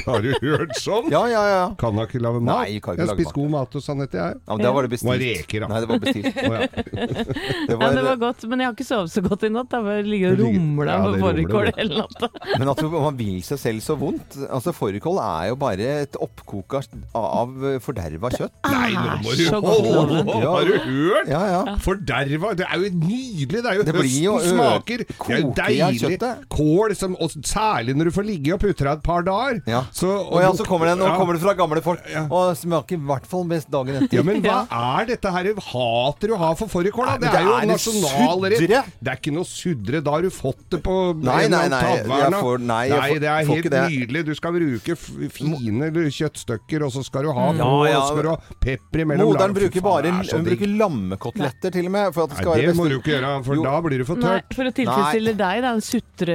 Speaker 3: Har du hørt sånn?
Speaker 1: Ja, ja, ja.
Speaker 3: Kan da ikke lage mat?
Speaker 1: Nei, kan ikke lage
Speaker 3: jeg har
Speaker 1: mat.
Speaker 3: spist god mat hos Anette, jeg.
Speaker 1: ja men da var det
Speaker 3: Det var
Speaker 1: bestilt.
Speaker 3: reker, da.
Speaker 1: Nei, det var bestilt.
Speaker 3: Å, ja.
Speaker 1: Det
Speaker 4: Ja,
Speaker 1: var,
Speaker 4: det var godt, men jeg har ikke sovet så godt i natt. Jeg bare ligger og
Speaker 3: Du ligger-
Speaker 4: rumla
Speaker 3: Ja, det
Speaker 4: med
Speaker 3: rumler,
Speaker 4: fårikål
Speaker 3: du.
Speaker 4: hele natta.
Speaker 1: Men at man vil seg selv så vondt. Altså, Fårikål er jo bare et oppkok av- av forderva kjøtt.
Speaker 3: Nei, nå må du
Speaker 4: så
Speaker 3: holde
Speaker 4: godt, Loven.
Speaker 3: opp! Har du hørt?
Speaker 1: Ja, ja.
Speaker 3: Forderva! Det er jo nydelig! Det er jo
Speaker 1: Det blir jo
Speaker 3: høstens
Speaker 1: ø-
Speaker 3: smaker. Det er jo
Speaker 1: koke i
Speaker 3: deilig.
Speaker 1: kjøttet.
Speaker 3: Kål, som, og særlig når du får ligge og putre et par dager.
Speaker 1: Ja.
Speaker 3: Så,
Speaker 1: og ja, så kommer det, nå
Speaker 3: Ja.
Speaker 1: kommer det fra gamle folk,
Speaker 3: Ja.
Speaker 1: og smaker i hvert fall best dagen etter.
Speaker 3: ja, men hva er dette her hater du har for fårikål?
Speaker 1: Nei,
Speaker 3: da?
Speaker 1: men
Speaker 3: Det
Speaker 1: det
Speaker 3: er jo
Speaker 1: er
Speaker 3: nasjonalrett.
Speaker 1: suddre.
Speaker 3: Det er ikke noe suddre. Da har du fått det på
Speaker 1: Nei,
Speaker 3: en eller
Speaker 1: nei,
Speaker 3: annen
Speaker 1: nei,
Speaker 3: tavern,
Speaker 1: jeg
Speaker 3: da.
Speaker 1: får- nei, jeg får-
Speaker 3: det er
Speaker 1: får ikke
Speaker 3: helt nydelig. Du skal bruke f- fine kjøttstykker, og så skal du ha brød,
Speaker 1: Ja, ja.
Speaker 3: og så skal du ha pepper imellom.
Speaker 1: Moderen
Speaker 3: Fy
Speaker 1: bruker
Speaker 3: faen,
Speaker 1: bare
Speaker 3: det er så
Speaker 1: hun
Speaker 3: digg.
Speaker 1: bruker lammekoteletter til og med. For at det skal
Speaker 3: Nei,
Speaker 1: være
Speaker 3: det
Speaker 1: best.
Speaker 3: må du jo ikke gjøre, for
Speaker 1: Jo.
Speaker 3: da blir du for
Speaker 4: Nei,
Speaker 3: tørt.
Speaker 4: for å tilfredsstille deg, da,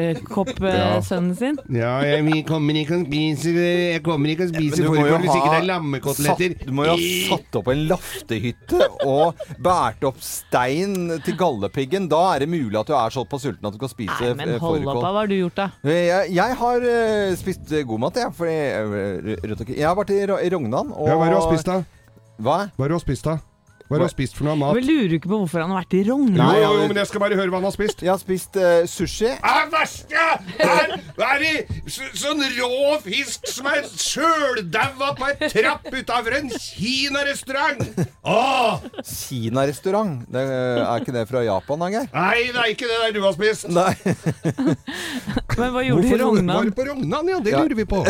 Speaker 3: Ja.
Speaker 4: sutrekopp-sønnen sin.
Speaker 3: Ja, jeg vi kommer ikke og spiser Jeg kommer ikke og
Speaker 1: Men
Speaker 3: spiser
Speaker 1: du må jo
Speaker 3: fårikål hvis ikke det
Speaker 1: ha
Speaker 3: er lammekoteletter.
Speaker 1: Satt, du må jo ha satt opp en laftehytte og båret opp stein til gallepiggen. Da er det mulig at du er såpass sulten at du kan spise
Speaker 4: Nei, men
Speaker 1: eh,
Speaker 4: hold opp,
Speaker 1: fårikål.
Speaker 4: hva har du gjort da?
Speaker 1: Jeg, jeg har eh, spist eh, god mat, jeg. Fordi, eh, rundt omkring. Jeg har vært i, Ro- i Rognan. Og,
Speaker 3: Ja, hva er det du har spist, da?
Speaker 1: Hva?
Speaker 3: Hva er det du har spist da? Hva har han spist for noe mat?
Speaker 4: Men lurer du ikke på hvorfor han har vært i
Speaker 3: Jo,
Speaker 4: Rognan?
Speaker 1: Nei,
Speaker 3: jo,
Speaker 1: han-
Speaker 3: jo, men jeg skal bare høre hva han har spist.
Speaker 1: Jeg har spist eh, sushi.
Speaker 3: Det verste er, er i s- sånn rå fisk som er sjøldaua på ei trapp utafor en kinarestaurant! Åh!
Speaker 1: Kinarestaurant. Det, eh, Er ikke det fra Japan, da, Geir?
Speaker 3: Nei, det er ikke det der du har spist!
Speaker 1: Nei.
Speaker 4: Men hva gjorde du i
Speaker 3: var
Speaker 4: Rognan?
Speaker 3: du på Rognan? Ja, det
Speaker 1: Ja.
Speaker 3: lurer vi på.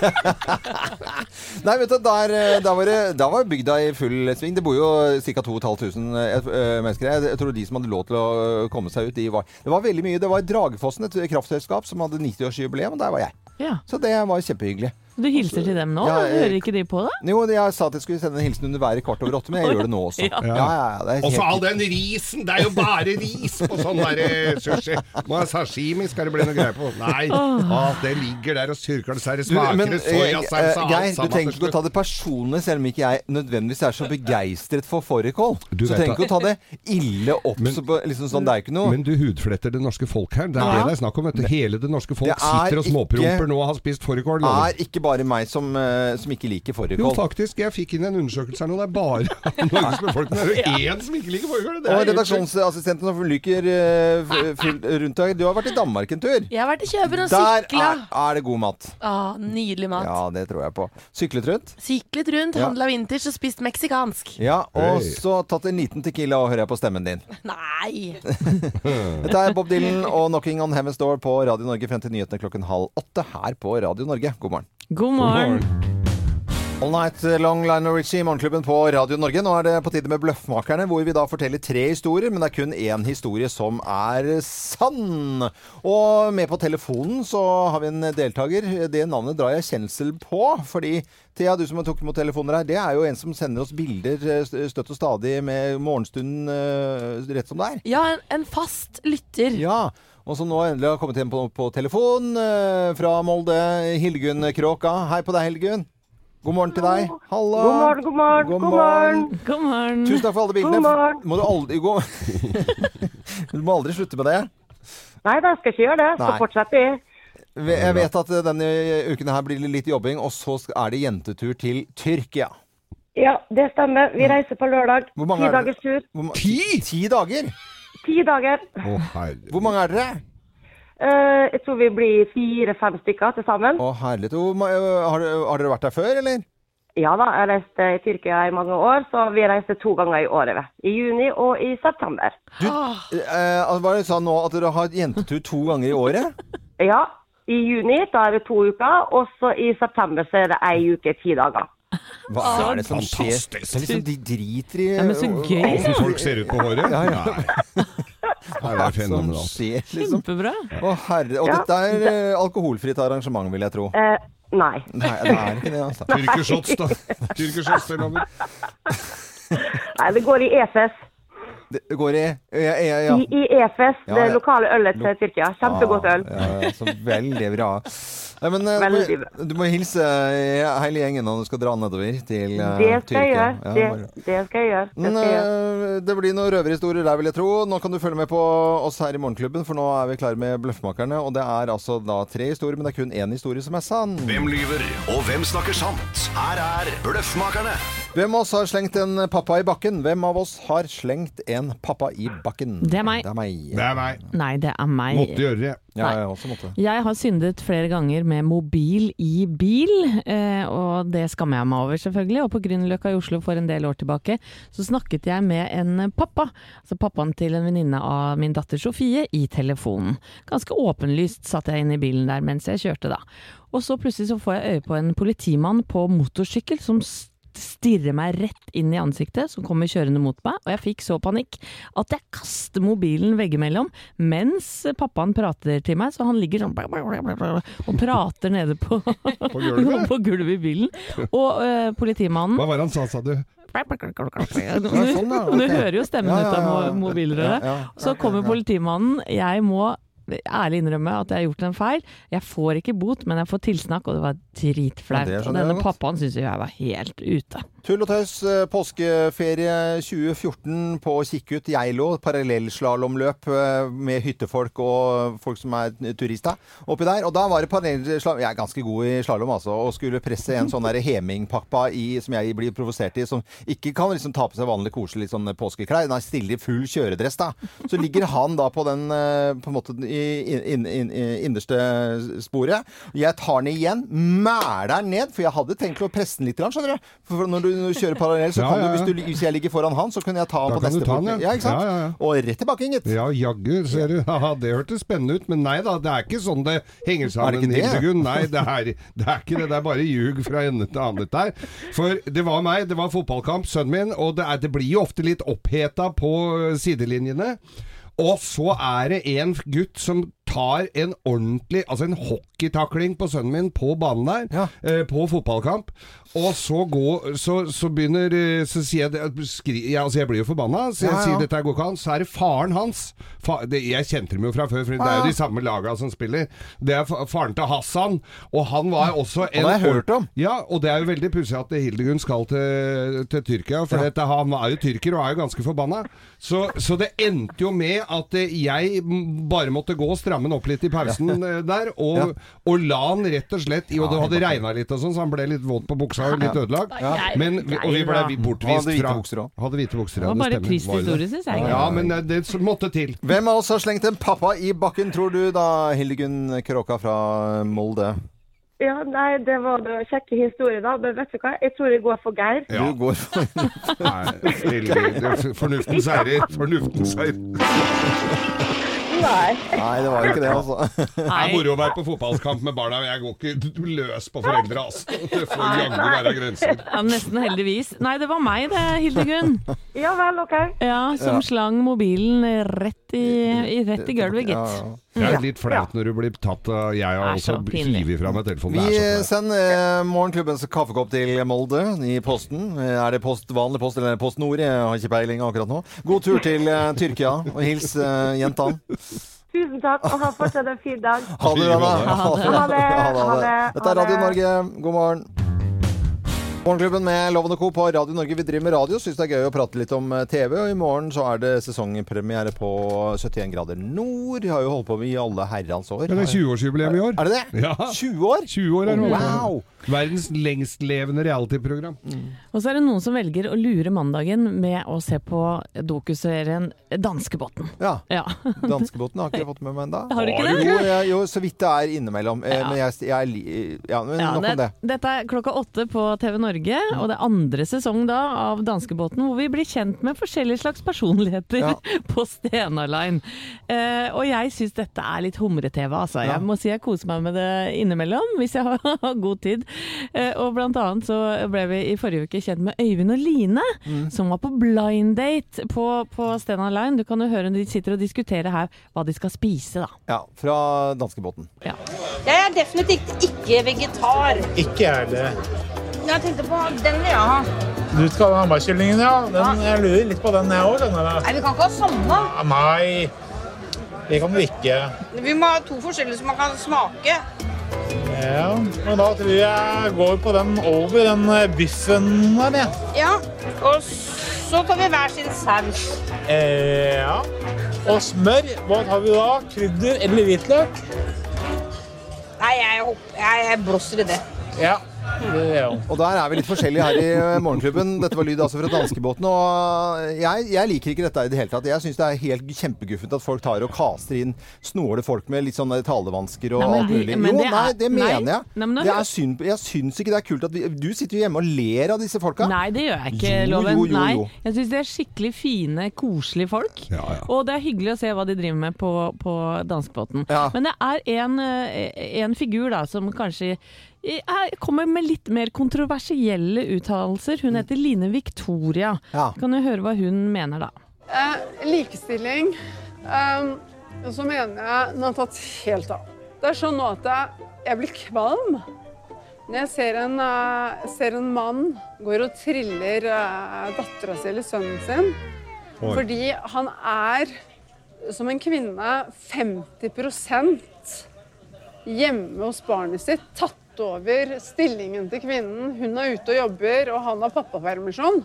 Speaker 1: Nei, vet du, der, eh, der, var det, der var bygda i full sving. Det bor jo ca. 2500 eh, mennesker her. Jeg tror de som hadde lov til å eh, komme seg ut, de var Det var veldig mye. Det var Dragefossen, et kraftselskap, som hadde 90-årsjubileum, og der var jeg.
Speaker 4: Ja,
Speaker 1: Så det var kjempehyggelig.
Speaker 4: Du hilser til dem nå?
Speaker 1: Ja, jeg-
Speaker 4: Hører ikke de på det?
Speaker 1: Jo, jeg sa at jeg skulle sende en hilsen under været i kvart over åtte, men jeg gjør det nå også. Ja, ja, ja, det er
Speaker 3: Og så all
Speaker 1: helt...
Speaker 3: den risen! Det er jo bare ris på sånn der eh, sushi. Må ha sashimi, skal det bli noe greier på. Nei, ah, det ligger der og surker, så er det
Speaker 1: Du, men
Speaker 3: smaker, det
Speaker 1: eh, eh,
Speaker 3: soyasaus
Speaker 1: Geir, du
Speaker 3: og alt
Speaker 1: trenger
Speaker 3: sammen.
Speaker 1: ikke å ta det personlig, selv om ikke jeg nødvendigvis er så begeistret for fårikål.
Speaker 3: Du
Speaker 1: Så
Speaker 3: vet
Speaker 1: trenger ikke å ta det ille opp.
Speaker 3: Men-
Speaker 1: så på, liksom sånn, det er ikke noe
Speaker 3: Men du hudfletter det norske folk her. Det er det det er snakk om. Vet du. Hele det norske folk
Speaker 1: Det er
Speaker 3: sitter og
Speaker 1: ikke-
Speaker 3: småpromper nå og har spist fårikål. lover.
Speaker 1: er ikke bare meg som, eh, som ikke liker
Speaker 3: Jo,
Speaker 1: fårikål.
Speaker 3: faktisk. Jeg fikk inn en undersøkelse her nå. Det er bare Norges befolkning. Det er jo én som ikke liker fårikål.
Speaker 1: Og
Speaker 3: Det er helt sjukt.
Speaker 1: Eh, redaksjonsassistenten som lyker
Speaker 3: Ah.
Speaker 1: fullt rundt deg, du har vært i Danmark en tur.
Speaker 2: Jeg har vært i København og
Speaker 1: Der
Speaker 2: sykla.
Speaker 1: er, er det god mat.
Speaker 2: Ah, nydelig mat.
Speaker 1: Ja, det tror jeg på. Syklet rundt.
Speaker 2: Syklet rundt,
Speaker 1: Ja.
Speaker 2: handla vintage og spist meksikansk.
Speaker 1: Ja, og
Speaker 3: Hey.
Speaker 1: så tatt en liten tequila og hører jeg på stemmen din.
Speaker 2: Nei!
Speaker 1: Dette er Bob Dylan og 'Knocking on Heaven's Door' på Radio Norge frem til nyhetene klokken halv åtte her på Radio Norge. God morgen.
Speaker 4: God morgen.
Speaker 1: All Night Long Lionel Richie i Morgenklubben på Radio Norge. Nå er det på tide med Bløffmakerne, hvor vi da forteller tre historier, men det er kun én historie som er sann. Og med på telefonen så har vi en deltaker. Det navnet drar jeg kjensel på, fordi Thea, du som tok imot telefoner her, det er jo en som sender oss bilder eh, støtt og stadig med morgenstunden eh, rett som det er.
Speaker 2: Ja, en, en fast lytter.
Speaker 1: Ja, og som nå endelig har kommet hjem på, på telefon eh, fra Molde, Hildegunn Kråka. Hei på deg, Hildegunn. God morgen til deg. Hallo.
Speaker 8: God morgen, god morgen, god morgen.
Speaker 4: God morgen.
Speaker 1: Tusen takk for alle bildene.
Speaker 8: God morgen.
Speaker 1: Må du aldri gå Du må aldri slutte med det.
Speaker 8: Nei da, skal ikke gjøre det. Skal
Speaker 1: Nei.
Speaker 8: fortsette i.
Speaker 1: Jeg vet at eh, denne uken her blir det litt jobbing, og så sk- er det jentetur til Tyrkia.
Speaker 8: Ja, det stemmer. Vi reiser på lørdag.
Speaker 1: Hvor mange er
Speaker 8: Ti
Speaker 1: det?
Speaker 8: dagers tur.
Speaker 1: Hvor ma- Ti dager?
Speaker 8: Ti dager.
Speaker 3: Å, herre.
Speaker 1: Hvor mange er dere?
Speaker 8: Eh, jeg tror vi blir fire-fem stykker til sammen.
Speaker 1: Å, herlighet. Hvor ma- ø, Har, har dere vært der før, eller?
Speaker 8: Ja da, jeg reiste i Tyrkia i mange år, så vi reiser to ganger i året. vi. I juni og i september.
Speaker 1: Eh, altså, var det sånn nå at dere har jentetur to ganger i året?
Speaker 8: Ja, i juni da er det to uker, og så i september så er det ei uke, ti dager.
Speaker 1: Hva er det som skjer? Det
Speaker 3: Fantastisk.
Speaker 1: er liksom, de driter i
Speaker 4: Ja, men så gøy.
Speaker 3: Åssen folk ser ut på håret?
Speaker 1: Ja, ja.
Speaker 3: Nei. Nei, det
Speaker 1: Hva
Speaker 3: er
Speaker 1: som
Speaker 3: fenomenalt.
Speaker 1: skjer, liksom?
Speaker 4: Kjempebra.
Speaker 1: Å, herre. Og
Speaker 8: Ja,
Speaker 1: dette er eh, alkoholfritt arrangement, vil jeg tro.
Speaker 8: Eh, nei.
Speaker 1: Nei, det er ikke det, altså.
Speaker 3: Tyrkershots, da. Tyrkershots til over.
Speaker 8: nei, det går i EFES.
Speaker 1: Det går i Ja, ja, ja.
Speaker 8: I, i EFES,
Speaker 1: Ja,
Speaker 8: det
Speaker 1: ja.
Speaker 8: lokale ølet til Tyrkia. Mm, Kjempegodt øl.
Speaker 1: Ja, ja, så veldig bra. Nei, men, eh,
Speaker 8: Veldig
Speaker 1: du, må, du må hilse eh, hele gjengen når du skal dra nedover til eh,
Speaker 8: Det skal jeg
Speaker 1: Tyrkia.
Speaker 8: gjøre.
Speaker 1: Ja,
Speaker 8: Det,
Speaker 1: bare-
Speaker 8: det skal jeg gjøre. Det
Speaker 1: Men,
Speaker 8: skal jeg gjøre.
Speaker 1: eh, det blir noen røverhistorier der, vil jeg tro. Nå kan du følge med på oss her i Morgenklubben, for nå er vi klare med Bløffmakerne. Og det er altså da tre historier, men det er kun én historie som er sann.
Speaker 9: Hvem lyver, og hvem snakker sant? Her er Bløffmakerne.
Speaker 1: Hvem av oss har slengt en pappa i bakken? Hvem av oss har slengt en pappa i bakken?
Speaker 4: Det er meg.
Speaker 1: Det er meg.
Speaker 3: Det er meg.
Speaker 4: Nei, det er meg.
Speaker 3: Måtte gjøre det.
Speaker 1: Ja, jeg også måtte.
Speaker 4: Jeg har syndet flere ganger med mobil i bil, eh, og det skammer jeg meg over selvfølgelig. Og på Grünerløkka i Oslo for en del år tilbake, så snakket jeg med en pappa, altså pappaen til en venninne av min datter Sofie, i telefonen. Ganske åpenlyst satt jeg inne i bilen der mens jeg kjørte da. Og så plutselig så får jeg øye på en politimann på motorsykkel som s- stirrer meg rett inn i ansiktet, som kommer kjørende mot meg, og jeg fikk så panikk at jeg kaster mobilen veggimellom mens pappaen prater til meg, så han ligger sånn og prater nede på,
Speaker 3: På gulvet?
Speaker 4: på gulvet i bilen. Og eh, politimannen
Speaker 3: Hva var det han sa, sa du?
Speaker 4: Du
Speaker 1: sånn, ja, ok.
Speaker 4: du hører jo stemmen
Speaker 1: Ja, ja,
Speaker 4: ut av
Speaker 1: ja, ja.
Speaker 4: mo- mobilrøret.
Speaker 1: Ja, ja.
Speaker 4: Så kommer politimannen. Jeg må ærlig innrømme at jeg har gjort en feil. Jeg får ikke bot, men jeg får tilsnakk, og det var
Speaker 1: Ja, det
Speaker 4: dritflaut.
Speaker 1: skjønner
Speaker 4: Og
Speaker 1: jeg
Speaker 4: denne
Speaker 1: godt.
Speaker 4: pappaen syntes jo jeg var helt ute.
Speaker 1: Tull og tøys, eh, påskeferie 2014 på Kikkut, Geilo. Parallellslalåmløp eh, med hyttefolk og folk som er turister oppi der. Og da var det parallellslalåm Jeg er ganske god i slalåm, altså. Og skulle presse en sånn der hemingpappa i, som jeg blir provosert i, som ikke kan liksom ta på seg vanlig koselig litt sånn påskeklær. Nei, stille i full kjøredress, da. Så ligger han da på den eh, på en måte i inn- inn- inn- innerste sporet. Jeg tar den igjen, mæler den ned, for jeg hadde tenkt å presse den litt, grann, skjønner du. For når du, når du kjører parallell, så
Speaker 3: Ja,
Speaker 1: kan
Speaker 3: ja,
Speaker 1: du,
Speaker 3: ja.
Speaker 1: hvis, du, hvis jeg ligger foran han, så kunne jeg ta han
Speaker 3: Da
Speaker 1: på
Speaker 3: kan
Speaker 1: neste
Speaker 3: du ta den,
Speaker 1: punkt.
Speaker 3: ja.
Speaker 1: Ja, ikke sant?
Speaker 3: Ja, ja, ja.
Speaker 1: Og rett tilbake, gitt.
Speaker 3: Ja, jaggu, ser du. Haha, det hørtes spennende ut, men nei da, det er ikke sånn det henger
Speaker 1: Er det
Speaker 3: sammen,
Speaker 1: ikke det?
Speaker 3: Hildegunn. Nei, det er, det er ikke det. Det er bare ljug fra ende til annet der. For det var meg, det var fotballkamp, sønnen min, og det, er, det blir jo ofte litt oppheta på øh, sidelinjene. Og så er det en gutt som tar en ordentlig, altså en hockeytakling på sønnen min på banen der,
Speaker 1: Ja.
Speaker 3: eh, på fotballkamp. Og så går, så, så begynner, eh, så sier jeg, det- skri, ja, altså jeg blir jo forbanna, så jeg
Speaker 1: Ja, ja.
Speaker 3: sier dette går ikke an. Så er det faren hans, fa, det, jeg kjente dem jo fra før, for det er jo de samme laga som spiller. Det er fa- faren til Hassan, og han var også en...
Speaker 1: har jeg hørt om.
Speaker 3: Ja, og det er jo veldig pussig at Hildegunn skal til, til Tyrkia, for dette, han er jo tyrker og er jo ganske forbanna. Så, så det endte jo med at eh, jeg m- bare måtte gå og stramme den opp litt i pausen eh, der, og, og la han rett og slett i, og det hadde regna litt og sånn, så han ble litt våt på buksa og litt ødelagt.
Speaker 2: Ja.
Speaker 3: Men, vi- og vi ble
Speaker 4: Nei,
Speaker 1: Han
Speaker 3: bortvist
Speaker 1: hadde hvite
Speaker 3: fra
Speaker 1: bukser også.
Speaker 3: Hadde hvite bukser,
Speaker 4: Det
Speaker 3: ja,
Speaker 4: var bare
Speaker 3: stemmer.
Speaker 4: trist
Speaker 3: Var det?
Speaker 4: historie, syns jeg.
Speaker 3: Ja, men eh, det måtte til.
Speaker 1: Hvem av oss har slengt en pappa i bakken, tror du da, Hildegunn Kråka fra Molde?
Speaker 8: Ja, nei, det var da kjekke historier, da. Men vet du hva, jeg tror jeg går for Geir.
Speaker 1: Du går for
Speaker 3: Nei, helvete. Fornuften seirer. Fornuften seirer.
Speaker 8: Nei.
Speaker 1: Nei, det var jo ikke det, altså.
Speaker 3: Det er moro å være på fotballkamp med barna. Jeg går ikke løs på foreldre, altså. Det får jaggu være grenser.
Speaker 4: Ja, nesten heldigvis. Nei, det var meg det, Hildegunn.
Speaker 8: Ja vel, OK.
Speaker 4: Ja, som slang mobilen rett i, i, rett i gulvet, gitt.
Speaker 1: Ja, ja.
Speaker 3: Det er litt flaut når du blir tatt av Jeg har
Speaker 4: Det er så
Speaker 3: også
Speaker 4: pinlig.
Speaker 3: hivet fra meg telefonen. Det
Speaker 1: Vi
Speaker 3: er så flaut.
Speaker 1: sender eh, morgenklubbens kaffekopp til Molde i posten. Eh, Er det post, vanlig post eller er det Post Nord? Jeg har ikke peiling akkurat nå. God tur til eh, Tyrkia, og hils eh, jentene.
Speaker 8: Tusen takk, og ha fortsatt en fin dag.
Speaker 1: Ha det, Anna.
Speaker 4: Ha det.
Speaker 8: Ha det, ha det,
Speaker 1: Dette er
Speaker 8: ha det.
Speaker 1: Radio Norge. God morgen. Morgenklubben med Loven og Co. på Radio Norge. Vi driver med radio. Syns det er gøy å prate litt om eh, TV. Og i morgen så er det sesongpremiere på 71 grader nord. Vi har jo holdt på med i alle herrens år.
Speaker 3: Ja, Det er 20-årsjubileum i år.
Speaker 1: Er det det?
Speaker 3: Ja.
Speaker 1: 20 år?
Speaker 3: 20 år er det.
Speaker 1: Wow!
Speaker 3: Verdens lengstlevende reality-program.
Speaker 4: Og så er det noen som velger å lure mandagen med å se på dokuserien Danskebåten.
Speaker 1: Ja.
Speaker 4: Ja.
Speaker 1: Danskebåten har ikke jeg fått med meg ennå.
Speaker 4: Har du ikke det?
Speaker 1: Jo, jeg, jo, så vidt det er innimellom. Eh,
Speaker 4: Ja.
Speaker 1: Men jeg, jeg li- Ja, men
Speaker 4: Ja,
Speaker 1: nok om det.
Speaker 4: det, dette er klokka åtte på TV Norge, og det er andre sesong da av Danskebåten, hvor vi blir kjent med forskjellige slags personligheter
Speaker 1: Ja.
Speaker 4: på Stena Line. Eh, og jeg syns dette er litt humre-TV, altså. Jeg må si jeg koser meg med det innimellom, hvis jeg har god tid. Eh, og blant annet så ble vi i forrige uke kjent med Øyvind og Line,
Speaker 1: Mm.
Speaker 4: som var på blind date på, på Stena Line. Du kan jo høre når de sitter og diskuterer her hva de skal spise, da.
Speaker 1: Ja, fra danskebåten.
Speaker 10: Jeg er definitivt ikke vegetar.
Speaker 11: Ikke jeg heller.
Speaker 10: Jeg tenkte på den vil jeg ha.
Speaker 11: Du skal ha hamburgerkyllingen, ja. Den, jeg lurer litt på den, jeg òg.
Speaker 10: Nei, vi kan ikke ha samme.
Speaker 11: Nei, det kan du ikke.
Speaker 10: Vi må ha to forskjellige som man kan smake.
Speaker 11: Ja, men da tror jeg jeg går på den over den eh, biffen der, jeg.
Speaker 10: Ja, og så tar vi hver sin saus.
Speaker 11: Eh, ja. Og smør, hva tar vi da? Krydder eller hvitløk?
Speaker 10: Nei, jeg, hopp- jeg, jeg blåser i det.
Speaker 11: Ja, det gjør jeg.
Speaker 1: Og der er vi litt forskjellige her i eh, Morgenklubben. Dette var lyd altså fra danskebåten. Og eh, jeg, jeg liker ikke dette i det hele tatt. Jeg syns det er helt kjempeguffent at folk tar og kaster inn snåle folk med litt sånn eh, talevansker og
Speaker 4: Nei, men
Speaker 1: alt
Speaker 4: de-
Speaker 1: mulig.
Speaker 4: men
Speaker 1: Jo,
Speaker 4: det er-
Speaker 1: nei, det
Speaker 4: nei.
Speaker 1: mener jeg.
Speaker 4: Nei, men nå-
Speaker 1: det er synd, jeg syns ikke det er kult at vi Du sitter jo hjemme og ler av disse folka.
Speaker 4: Nei, det gjør jeg ikke,
Speaker 1: Jo,
Speaker 4: Loven.
Speaker 1: jo, jo, jo.
Speaker 4: Nei, jeg syns de er skikkelig fine, koselige folk.
Speaker 3: Ja, ja.
Speaker 4: Og det er hyggelig å se hva de driver med på, på danskebåten.
Speaker 1: Ja.
Speaker 4: Men det er en, eh, en figur da som kanskje eh, er- kommer med litt mer kontroversielle uttalelser. Hun heter Line Victoria.
Speaker 1: Mm. Ja.
Speaker 4: Kan du høre hva hun mener, da?
Speaker 10: likestilling. um, så mener jeg den har tatt helt av. Det er sånn nå at jeg, blir kvalm når jeg ser en, eh, mann går og triller uh, dattera si eller sønnen sin.
Speaker 3: Oi.
Speaker 10: Fordi han er, som en kvinne, 50 hjemme hos barnet sitt, tatt gått over stillingen til kvinnen. Hun er ute og jobber, og han har pappapermisjon.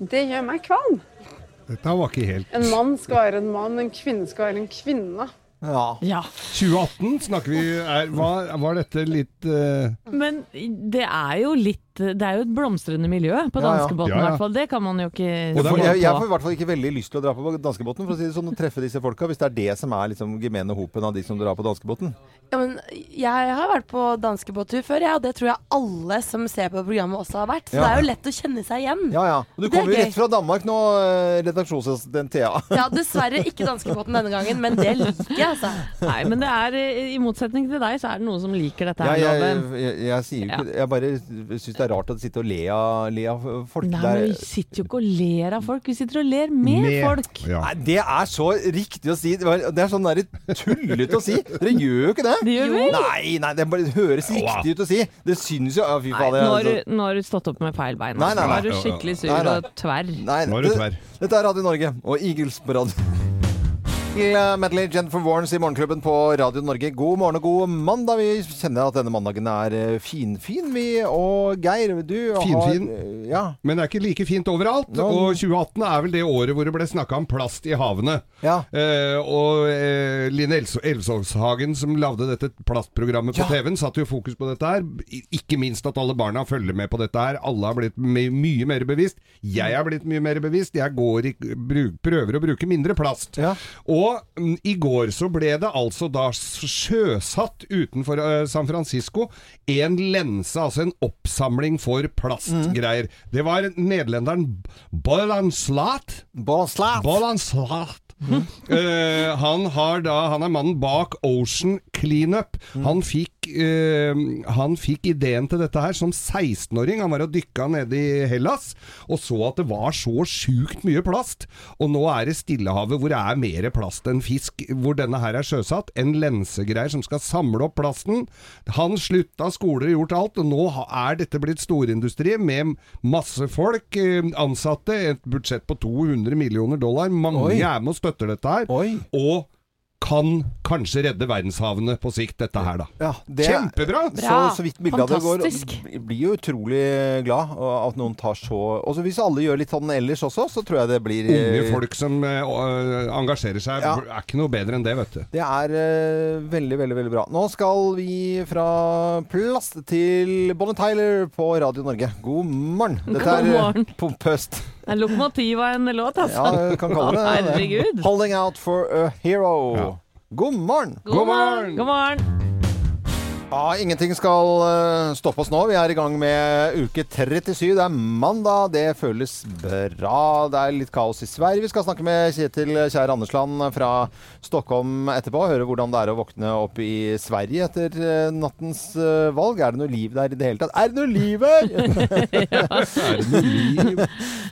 Speaker 10: Det gjør meg kvalm.
Speaker 3: Dette var ikke helt
Speaker 10: En mann skal være en mann, en kvinne skal være en kvinne.
Speaker 1: Ja.
Speaker 3: 2018 snakker vi er, var, var dette litt eh,
Speaker 4: Men det er jo litt Det er jo et blomstrende miljø på
Speaker 1: Ja, ja.
Speaker 4: danskebåten, i
Speaker 1: Ja, ja.
Speaker 4: hvert fall. Det kan man jo ikke
Speaker 1: Jeg får,
Speaker 4: stå
Speaker 1: jeg, jeg
Speaker 4: på.
Speaker 1: får i hvert fall ikke veldig lyst til å dra på danskebåten for å si det sånn, og treffe disse folka, hvis det er det som er liksom gemene hopen av de som drar på danskebåten.
Speaker 2: Ja, men jeg har vært på danskebåttur før, ja, og det tror jeg alle som ser på programmet også har vært. Så
Speaker 1: Ja.
Speaker 2: det er jo lett å kjenne seg igjen.
Speaker 1: Ja, ja. Og du
Speaker 2: Det er
Speaker 1: kommer jo
Speaker 2: gøy.
Speaker 1: rett fra Danmark nå, eh, redaksjonsassistent Thea.
Speaker 2: Ja, dessverre ikke danskebåten denne gangen, men det liker jeg, altså.
Speaker 4: Nei, men det er eh, i motsetning til deg, så er det noen som liker dette
Speaker 1: Ja,
Speaker 4: her,
Speaker 1: jeg,
Speaker 4: Loven.
Speaker 1: jeg, jeg sier jo ikke Jeg bare syns det er rart å sitte og le av, le av folk.
Speaker 4: Nei,
Speaker 1: Det er-
Speaker 4: men vi sitter jo ikke og ler av folk, vi sitter og ler med, folk.
Speaker 1: Nei, det er så riktig å si. Det var- det er sånn der tullete å si. Dere gjør jo ikke det.
Speaker 4: Det gjør vi.
Speaker 1: Nei, nei, det bare høres riktig ut å si. Det synes jo ja, Fy faen.
Speaker 4: Nå
Speaker 1: jeg-
Speaker 4: har,
Speaker 1: altså.
Speaker 4: du, nå har du stått opp med feil bein. altså.
Speaker 1: Nei, nei, nei.
Speaker 4: Nå er du skikkelig sur
Speaker 1: Nei, nei.
Speaker 4: og tverr.
Speaker 1: Nei, det- Dette er Radio Norge og Eagles på radio. Eagle Medley, Jennifer Warnes i Morgenklubben på Radio Norge. God morgen og god mandag. Vi kjenner at denne mandagen er eh, finfin, vi. Og Geir, du har eh,
Speaker 3: finfin.
Speaker 1: Ja.
Speaker 3: Men det er ikke like fint overalt.
Speaker 1: Nå-
Speaker 3: Og 2018 er vel det året hvor det ble snakka om plast i havene. Eh, og eh, Line Els- Elvsåshagen, som lagde dette plastprogrammet på TV-en, satte jo fokus på dette her. I- Ikke minst at alle barna følger med på dette her. Alle har blitt my mye mer bevisst. Jeg er blitt mye mer bevisst. Jeg går i, bru- prøver å bruke mindre plast. Og mm, i går så ble det altså da s- sjøsatt utenfor eh, San Francisco en lense, altså en oppsamling for plastgreier. Det var nederlenderen Bollanslat.
Speaker 1: Bollanslat.
Speaker 3: Eh, han, har da, han er mannen bak Ocean Cleanup. Han, fikk, eh, han fikk ideen til dette her som 16-åring. Han var og dykka nede i Hellas og så at det var så sjukt mye plast. Og nå er det Stillehavet hvor det er mer plast enn fisk, hvor denne her er sjøsatt. En lensegreier som skal samle opp plasten. Han slutta skole, gjort alt, og nå ha- er dette blitt storindustri med masse folk, eh, ansatte, et budsjett på 200 millioner dollar. Mange
Speaker 1: Oi.
Speaker 3: er med og støtter dette her. Og kan kanskje redde verdenshavene på sikt, dette her, da.
Speaker 1: Det er-
Speaker 3: Kjempebra!
Speaker 1: Så, så vidt bildet av det går. og Jeg blir jo utrolig glad og at noen tar så Og så hvis alle gjør litt sånn ellers også, så tror jeg det blir eh,
Speaker 3: Unge folk som eh, å- engasjerer seg,
Speaker 1: Ja.
Speaker 3: er ikke noe bedre enn det, vet du.
Speaker 1: Det er eh, veldig, veldig veldig bra. Nå skal vi fra plast til Bonnie Tyler på Radio Norge. God morgen. Dette
Speaker 4: God
Speaker 1: er eh,
Speaker 4: morgen.
Speaker 1: pompøst.
Speaker 4: Det er lokomotiv av en låt, altså.
Speaker 1: Ja, jeg kan kalle det det.
Speaker 4: Herregud.
Speaker 1: Holding out for a hero. God morgen.
Speaker 4: God morgen. God morgen.
Speaker 1: Ja, ingenting skal eh, stoppe oss nå. Vi er i gang med uke 37. Det er mandag. Det føles bra. Det er litt kaos i Sverige. Vi skal snakke med Kjetil Kjær Andersland fra Stockholm etterpå. Høre hvordan det er å våkne opp i Sverige etter eh, nattens eh, valg. Er det noe liv der i det hele tatt? Er det noe liv her?!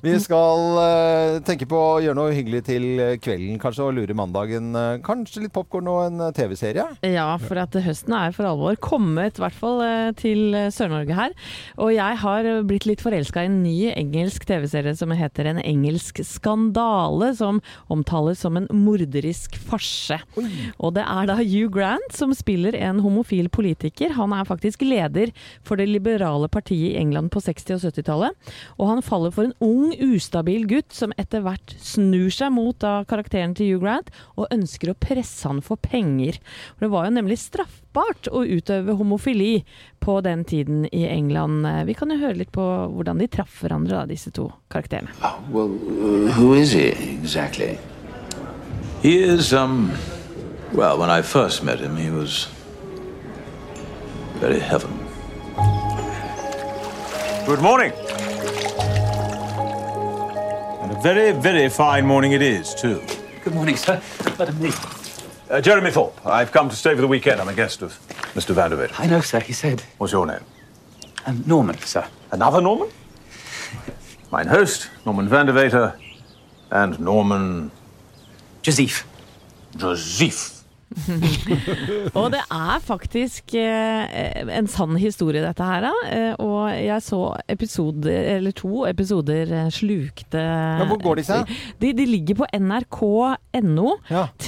Speaker 1: Vi skal eh, tenke på å gjøre noe hyggelig til kvelden, kanskje, og lure mandagen. Eh, Kanskje litt popkorn og en eh, TV-serie?
Speaker 4: Ja, for at høsten er for alvor kommet, i hvert fall eh, til eh, Sør-Norge her. Og jeg har eh, blitt litt forelska i en ny engelsk TV-serie som heter En engelsk skandale, som omtales som en morderisk farse. Og det er da Hugh Grant som spiller en homofil politiker. Han er faktisk leder for det liberale partiet i England på 60- og 70-tallet. Og han faller for en ung, ustabil gutt som etter hvert snur seg mot da karakteren til Hugh Grant og ønsker å presse han for penger. For det var jo nemlig straffbart å utøve homofili på den tiden i England. Vi kan jo høre litt på hvordan de traff hverandre, da, disse to karakterene.
Speaker 12: Well, uh, who is he exactly? He is, um. Well, when I first met him, he was. very heaven.
Speaker 13: Good morning. And a very, very fine morning it is, too. Good morning, sir. Madam Lee. Uh, Jeremy Thorpe. I've come to stay for the weekend. I'm a guest of Mr. Vanderbilt. I know, sir. He said. What's your name? Um, Norman, sir. Another Norman? Mine host, Norman Vandervater, and Norman. Joseph. Joseph.
Speaker 4: Og det er faktisk eh, en sann historie dette her, da. Eh, og jeg så episoder, eller to episoder eh, slukte
Speaker 1: hvor går de seg?
Speaker 4: De, de ligger på nrk.no.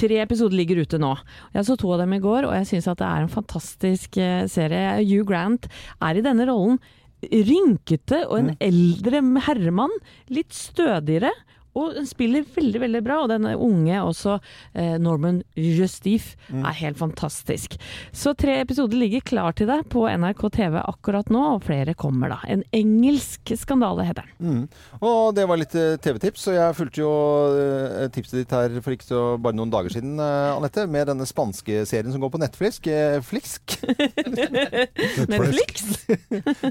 Speaker 4: Tre episoder ligger ute nå. Jeg så to av dem i går, og jeg syns at det er en fantastisk eh, serie. Hugh Grant er i denne rollen rynkete og en eldre herremann. Litt stødigere. Og hun spiller veldig veldig bra, og denne unge også, eh, Norman Justif, er helt fantastisk. Så tre episoder ligger klar til deg på NRK TV akkurat nå, og flere kommer da. En engelsk skandale heter den.
Speaker 1: Mm. Og det var litt eh, TV-tips, og jeg fulgte jo eh, tipset ditt her for ikke så bare noen dager siden, eh, Anette, med denne spanske serien som går på Netflisk. eh, Flisk.
Speaker 4: Netflix?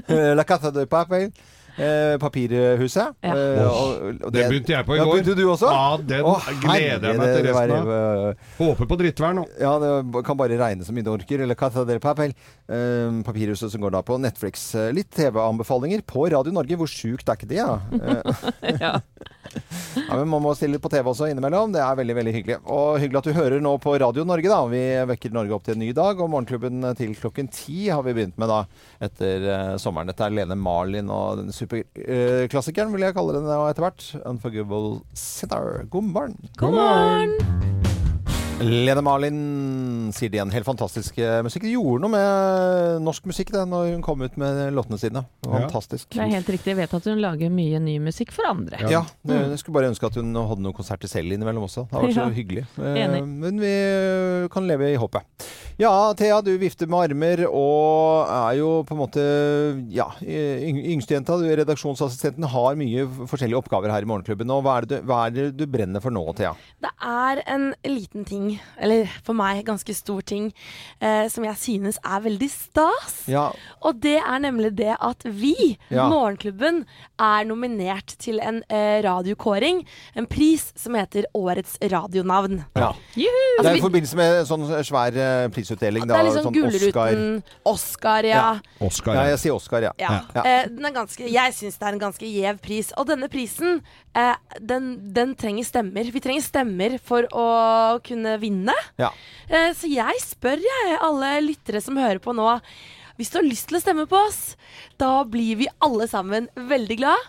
Speaker 1: Eh, La Casa de Papel. eh, Papirhuset.
Speaker 4: Ja.
Speaker 1: Eh, og- og
Speaker 3: Det begynte jeg på i
Speaker 1: ja,
Speaker 3: går.
Speaker 1: Begynte du også?
Speaker 3: Ja, den
Speaker 1: Å,
Speaker 3: gleder jeg meg til
Speaker 1: herre, det
Speaker 3: resten
Speaker 1: var, eh,
Speaker 3: Håper på drittvær nå.
Speaker 1: Ja, det kan bare regne så mye det orker. Eller Casa del Papel. Eh, Papirhuset som går da på Netflix. Eh, Litt TV-anbefalinger på Radio Norge. Hvor sjukt er ikke det, da? Eh,
Speaker 4: ja.
Speaker 1: men man må stille litt på TV også innimellom. Det er veldig veldig hyggelig. Og hyggelig at du hører nå på Radio Norge, da. Vi vekker Norge opp til en ny dag. Og Morgenklubben til klokken ti har vi begynt med da etter eh, sommeren. Dette er Lene Marlin og den superklassikeren, vil jeg kalle den da etter hvert. Unforgivable Sinner. God morgen.
Speaker 4: God morgen!
Speaker 1: Lene Marlin sier det igjen. Helt fantastisk eh, musikk. Det gjorde noe med norsk musikk det, når hun kom ut med låtene sine. Fantastisk.
Speaker 4: Det er helt riktig. Jeg vet at hun lager mye ny musikk for andre.
Speaker 1: Ja,
Speaker 2: Mm.
Speaker 1: det, jeg skulle bare ønske at hun hadde noen konserter selv innimellom også. Det hadde vært så
Speaker 4: Ja.
Speaker 1: hyggelig.
Speaker 4: Enig.
Speaker 1: Eh, Men vi eh, kan leve i håpet. Ja, Thea, du vifter med armer og er jo på en måte ja, yng- yngstejenta. Du, Redaksjonsassistenten har mye forskjellige oppgaver her i Morgenklubben. Og hva er det du, hva er det du brenner for nå, Thea?
Speaker 2: Det er en liten ting, eller for meg ganske stor ting, eh, som jeg synes er veldig stas.
Speaker 1: Ja,
Speaker 2: Og det er nemlig det at vi,
Speaker 1: Ja.
Speaker 2: Morgenklubben, er nominert til en eh, radiokåring. En pris som heter Årets radionavn.
Speaker 1: ja.
Speaker 2: Juhu!
Speaker 1: det er i
Speaker 2: Altså, vi-
Speaker 1: forbindelse med en sånn svær eh, prisutdeling.
Speaker 2: det er liksom
Speaker 1: sånn
Speaker 2: Gullruten, Oscar, ja.
Speaker 1: Oscar. Ja, jeg sier Oscar, ja.
Speaker 2: Ja. Eh, den er ganske, jeg syns det er en ganske gjev pris. Og denne prisen, eh, den, den trenger stemmer. Vi trenger stemmer for å kunne vinne.
Speaker 1: Ja.
Speaker 2: Eh, så jeg spør jeg alle lyttere som hører på nå. Hvis du har lyst til å stemme på oss, da blir vi alle sammen veldig glad.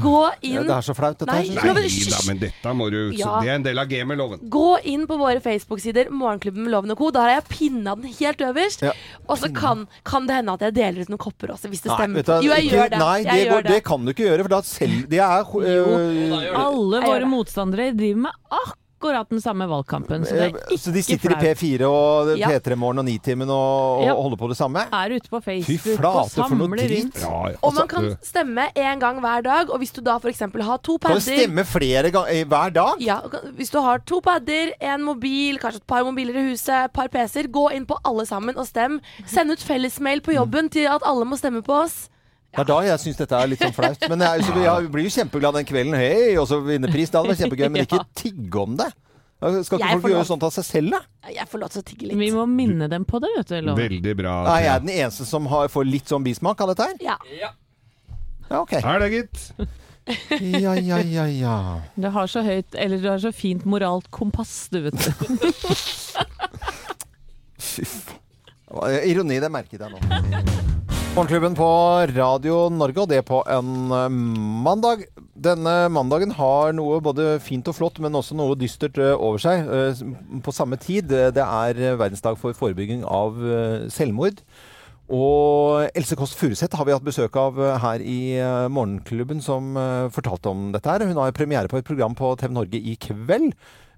Speaker 2: Gå inn
Speaker 3: Ja, det er så
Speaker 1: flaut,
Speaker 2: dette Nei, her. nå-
Speaker 3: Nei da, men dette må du
Speaker 2: Ja.
Speaker 3: Det er en del av gamet, loven.
Speaker 2: Gå inn på våre Facebook-sider, Morgenklubben med Loven og Co. Da har jeg pinna den helt øverst.
Speaker 1: Ja.
Speaker 2: Og så kan, kan det hende at jeg deler ut noen kopper også, hvis det
Speaker 1: Nei,
Speaker 2: stemmer.
Speaker 1: vet du,
Speaker 2: jo, jeg
Speaker 1: ikke-
Speaker 2: gjør det.
Speaker 1: Nei,
Speaker 2: jeg
Speaker 1: det,
Speaker 2: gjør
Speaker 1: går, det kan du ikke gjøre, for da selv Det er øh,
Speaker 4: Alle
Speaker 2: Jeg gjør
Speaker 4: våre motstandere driver med akkurat den samme valgkampen, så det er
Speaker 1: øh,
Speaker 4: ikke
Speaker 1: Så de sitter i
Speaker 4: flaut.
Speaker 1: P4 og
Speaker 4: Ja.
Speaker 1: P3-morgen og Nitimen og, og
Speaker 4: Ja.
Speaker 1: holder på det samme?
Speaker 4: Er ute på
Speaker 1: Fy
Speaker 4: Facebook og
Speaker 1: flate, for noe
Speaker 4: samler
Speaker 1: drit!
Speaker 4: rundt.
Speaker 1: Altså,
Speaker 2: Og
Speaker 3: Altså,
Speaker 2: man kan stemme én gang hver dag, og hvis du da f.eks. har to
Speaker 1: kan du
Speaker 2: padder
Speaker 1: stemme flere ganger hver dag?
Speaker 2: ja, og kan- Hvis du har to padder, en mobil, kanskje et par mobiler i huset, et par PC-er, gå inn på alle sammen og stem. Send ut fellesmail på jobben til at alle må stemme på oss.
Speaker 1: Det er da jeg syns dette er litt sånn flaut. Men jeg, så jeg blir jo kjempeglad den kvelden. Hei, og så vinne pris. Det hadde vært kjempegøy, men ikke tigge om det. Skal ikke
Speaker 2: Jeg får
Speaker 1: folk gjøre
Speaker 2: lov.
Speaker 1: sånt av seg selv, da?
Speaker 2: Jeg får lov til å tigge litt.
Speaker 4: Vi må minne dem på det, vet du. Loven.
Speaker 3: Veldig bra.
Speaker 1: Er jeg den eneste som har, får litt sånn bismak av dette her?
Speaker 2: Ja.
Speaker 1: Ja, ok.
Speaker 3: Er det, gitt?
Speaker 1: Ja, ja, ja, ja.
Speaker 4: Du har så høyt, eller du har så fint moralt kompass, du vet.
Speaker 1: Fy faen. Eh, Ironi, det merket jeg nå. Morgenklubben på Radio Norge, og det på en eh, mandag. Denne mandagen har noe både fint og flott, men også noe dystert eh, over seg eh, s- på samme tid. Eh, Det er eh, verdensdag for forebygging av eh, selvmord. Og Else Kåss Furuseth har vi hatt besøk av eh, her i eh, Morgenklubben, som eh, fortalte om dette her. Hun har premiere på et program på TV Norge i kveld,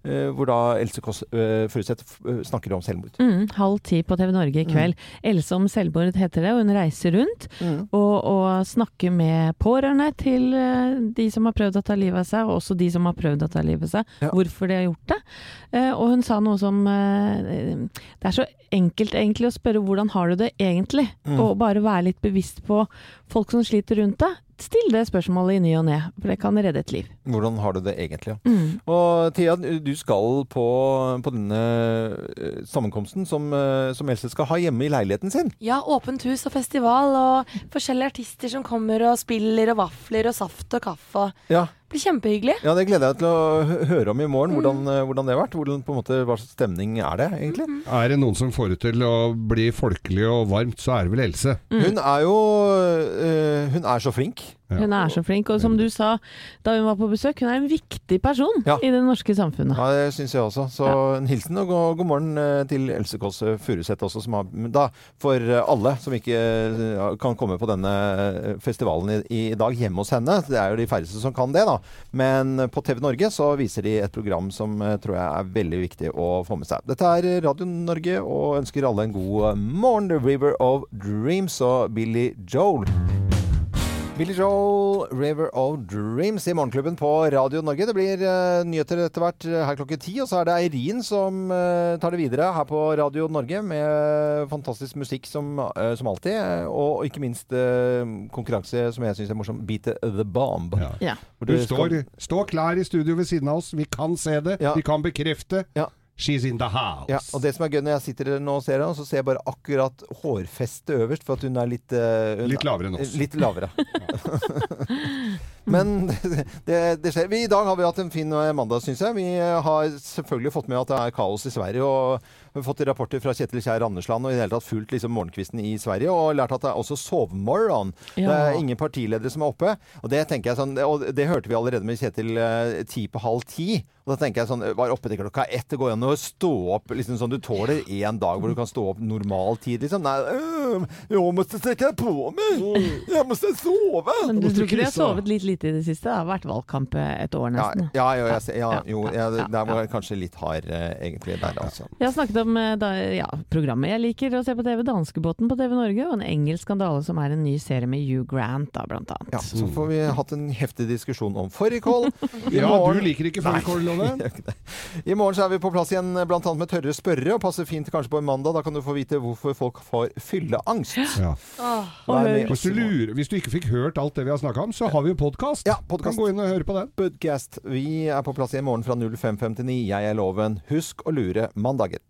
Speaker 1: eh, hvor da Else Kåss eh, Furuseth eh, snakker om selvmord.
Speaker 4: Mm, halv ti på TV Norge i kveld. Else om selvmord heter det, og hun reiser rundt og, og snakker med pårørende til eh, de som har prøvd å ta livet av seg, og også de som har prøvd å ta livet av seg, hvorfor de har gjort det. Eh, og hun sa noe som eh, Det er så enkelt egentlig å spørre hvordan har du det egentlig,
Speaker 14: Mm.
Speaker 4: og bare være litt bevisst på folk som sliter rundt deg. Still det spørsmålet i ny og ne, for det kan redde et liv.
Speaker 1: Hvordan har du det egentlig? ja?
Speaker 4: Mm.
Speaker 1: Og Thea, du skal på, på denne eh, sammenkomsten som, eh, som Else skal ha hjemme i leiligheten sin.
Speaker 2: Ja, åpent hus og festival og forskjellige artister som kommer og spiller, og vafler og saft og kaffe og
Speaker 1: Ja.
Speaker 2: Blir kjempehyggelig.
Speaker 1: Ja, Det gleder jeg meg til å hø- høre om i morgen, hvordan, eh, hvordan det har vært. Hvordan, på en måte, hva slags stemning er det egentlig?
Speaker 3: Er det noen som får det til å bli folkelig og varmt, så er det vel Else.
Speaker 2: Mm.
Speaker 1: Hun er jo eh, Hun er så flink.
Speaker 4: Hun er så flink, og som du sa da hun var på besøk, hun er en viktig person i det norske samfunnet.
Speaker 1: Ja, Det syns jeg også. Så en hilsen og god, god morgen eh, til Else Kåss Furuseth også, som har men da, For eh, alle som ikke eh, kan komme på denne eh, festivalen i, i dag hjemme hos henne. Det er jo de færreste som kan det, da. Men eh, på TV Norge så viser de et program som eh, tror jeg er veldig viktig å få med seg. Dette er Radio Norge og ønsker alle en god eh, morgen. The River of Dreams og Billy Joel. Billy Joel, 'River of Dreams' i Morgenklubben på Radio Norge. Det blir eh, nyheter etter hvert eh, her klokken ti, og så er det Eirin som eh, tar det videre her på Radio Norge med fantastisk musikk som, eh, som alltid, eh, og ikke minst eh, konkurranse som jeg syns er morsom, 'Beat the Bomb'.
Speaker 4: Ja.
Speaker 1: Hvor
Speaker 3: Du
Speaker 1: det skal-
Speaker 3: står, står klar i studio ved siden av oss. Vi kan se det. Vi kan bekrefte. She's in the house.
Speaker 1: Ja, og det som er gøy når jeg sitter her nå og ser henne, så ser jeg bare akkurat hårfestet øverst, for at hun er litt eh, hun,
Speaker 3: Litt lavere enn oss.
Speaker 1: Litt lavere. Men det, det skjer. Vi, I dag har vi hatt en fin eh, mandag, syns jeg. Vi eh, har selvfølgelig fått med at det er kaos i Sverige, og vi har fått rapporter fra Kjetil Kjær Andersland og i det hele tatt fulgt liksom, morgenkvisten i Sverige, og lært at det er også sovemorgen. Det
Speaker 14: Ja.
Speaker 1: er ingen partiledere som er oppe. Og det tenker jeg sånn, og det hørte vi allerede med Kjetil eh, ti på halv ti. Og da tenker jeg sånn, Var oppe til klokka ett. Det går an å stå opp liksom sånn du tåler én dag hvor du kan stå opp normal tid, liksom. Nei, øh, jeg må strekke på meg! Jeg må sove!
Speaker 4: Men du
Speaker 1: Jeg må
Speaker 4: tror ikke de har
Speaker 1: krysse.
Speaker 4: sovet litt lite i det siste? Det har vært valgkamp eh, et år nesten.
Speaker 1: Ja, jo, jeg, ser- ja, jo ja, det- der var jeg kanskje litt hard, eh, egentlig, der, altså.
Speaker 4: Jeg har snakket om eh, da, ja, programmet jeg liker å se på TV, Danskebåten på TV Norge, og en engelsk skandale som er en ny serie med Hugh Grant, da, blant annet.
Speaker 1: Ja, så får vi hatt en heftig diskusjon om fårikål. I
Speaker 3: Ja,
Speaker 1: morgen-
Speaker 3: du liker ikke
Speaker 1: Nei,
Speaker 3: fårikål, Loven.
Speaker 1: jeg gjør ikke det. I morgen så er vi på plass igjen bl.a. med tørre spørre, og passer fint kanskje på en mandag. Da kan du få vite hvorfor folk får fylleangst. Vær med
Speaker 3: Hvis
Speaker 1: oss i
Speaker 3: du,
Speaker 1: morgen.
Speaker 3: lurer, hvis du ikke fikk hørt alt det vi har snakka om, så har vi jo podkast. Ja, kan gå inn og høre på den.
Speaker 1: Podcast. Vi er på plass igjen i morgen fra 05.59. Jeg er Loven. Husk å lure mandager.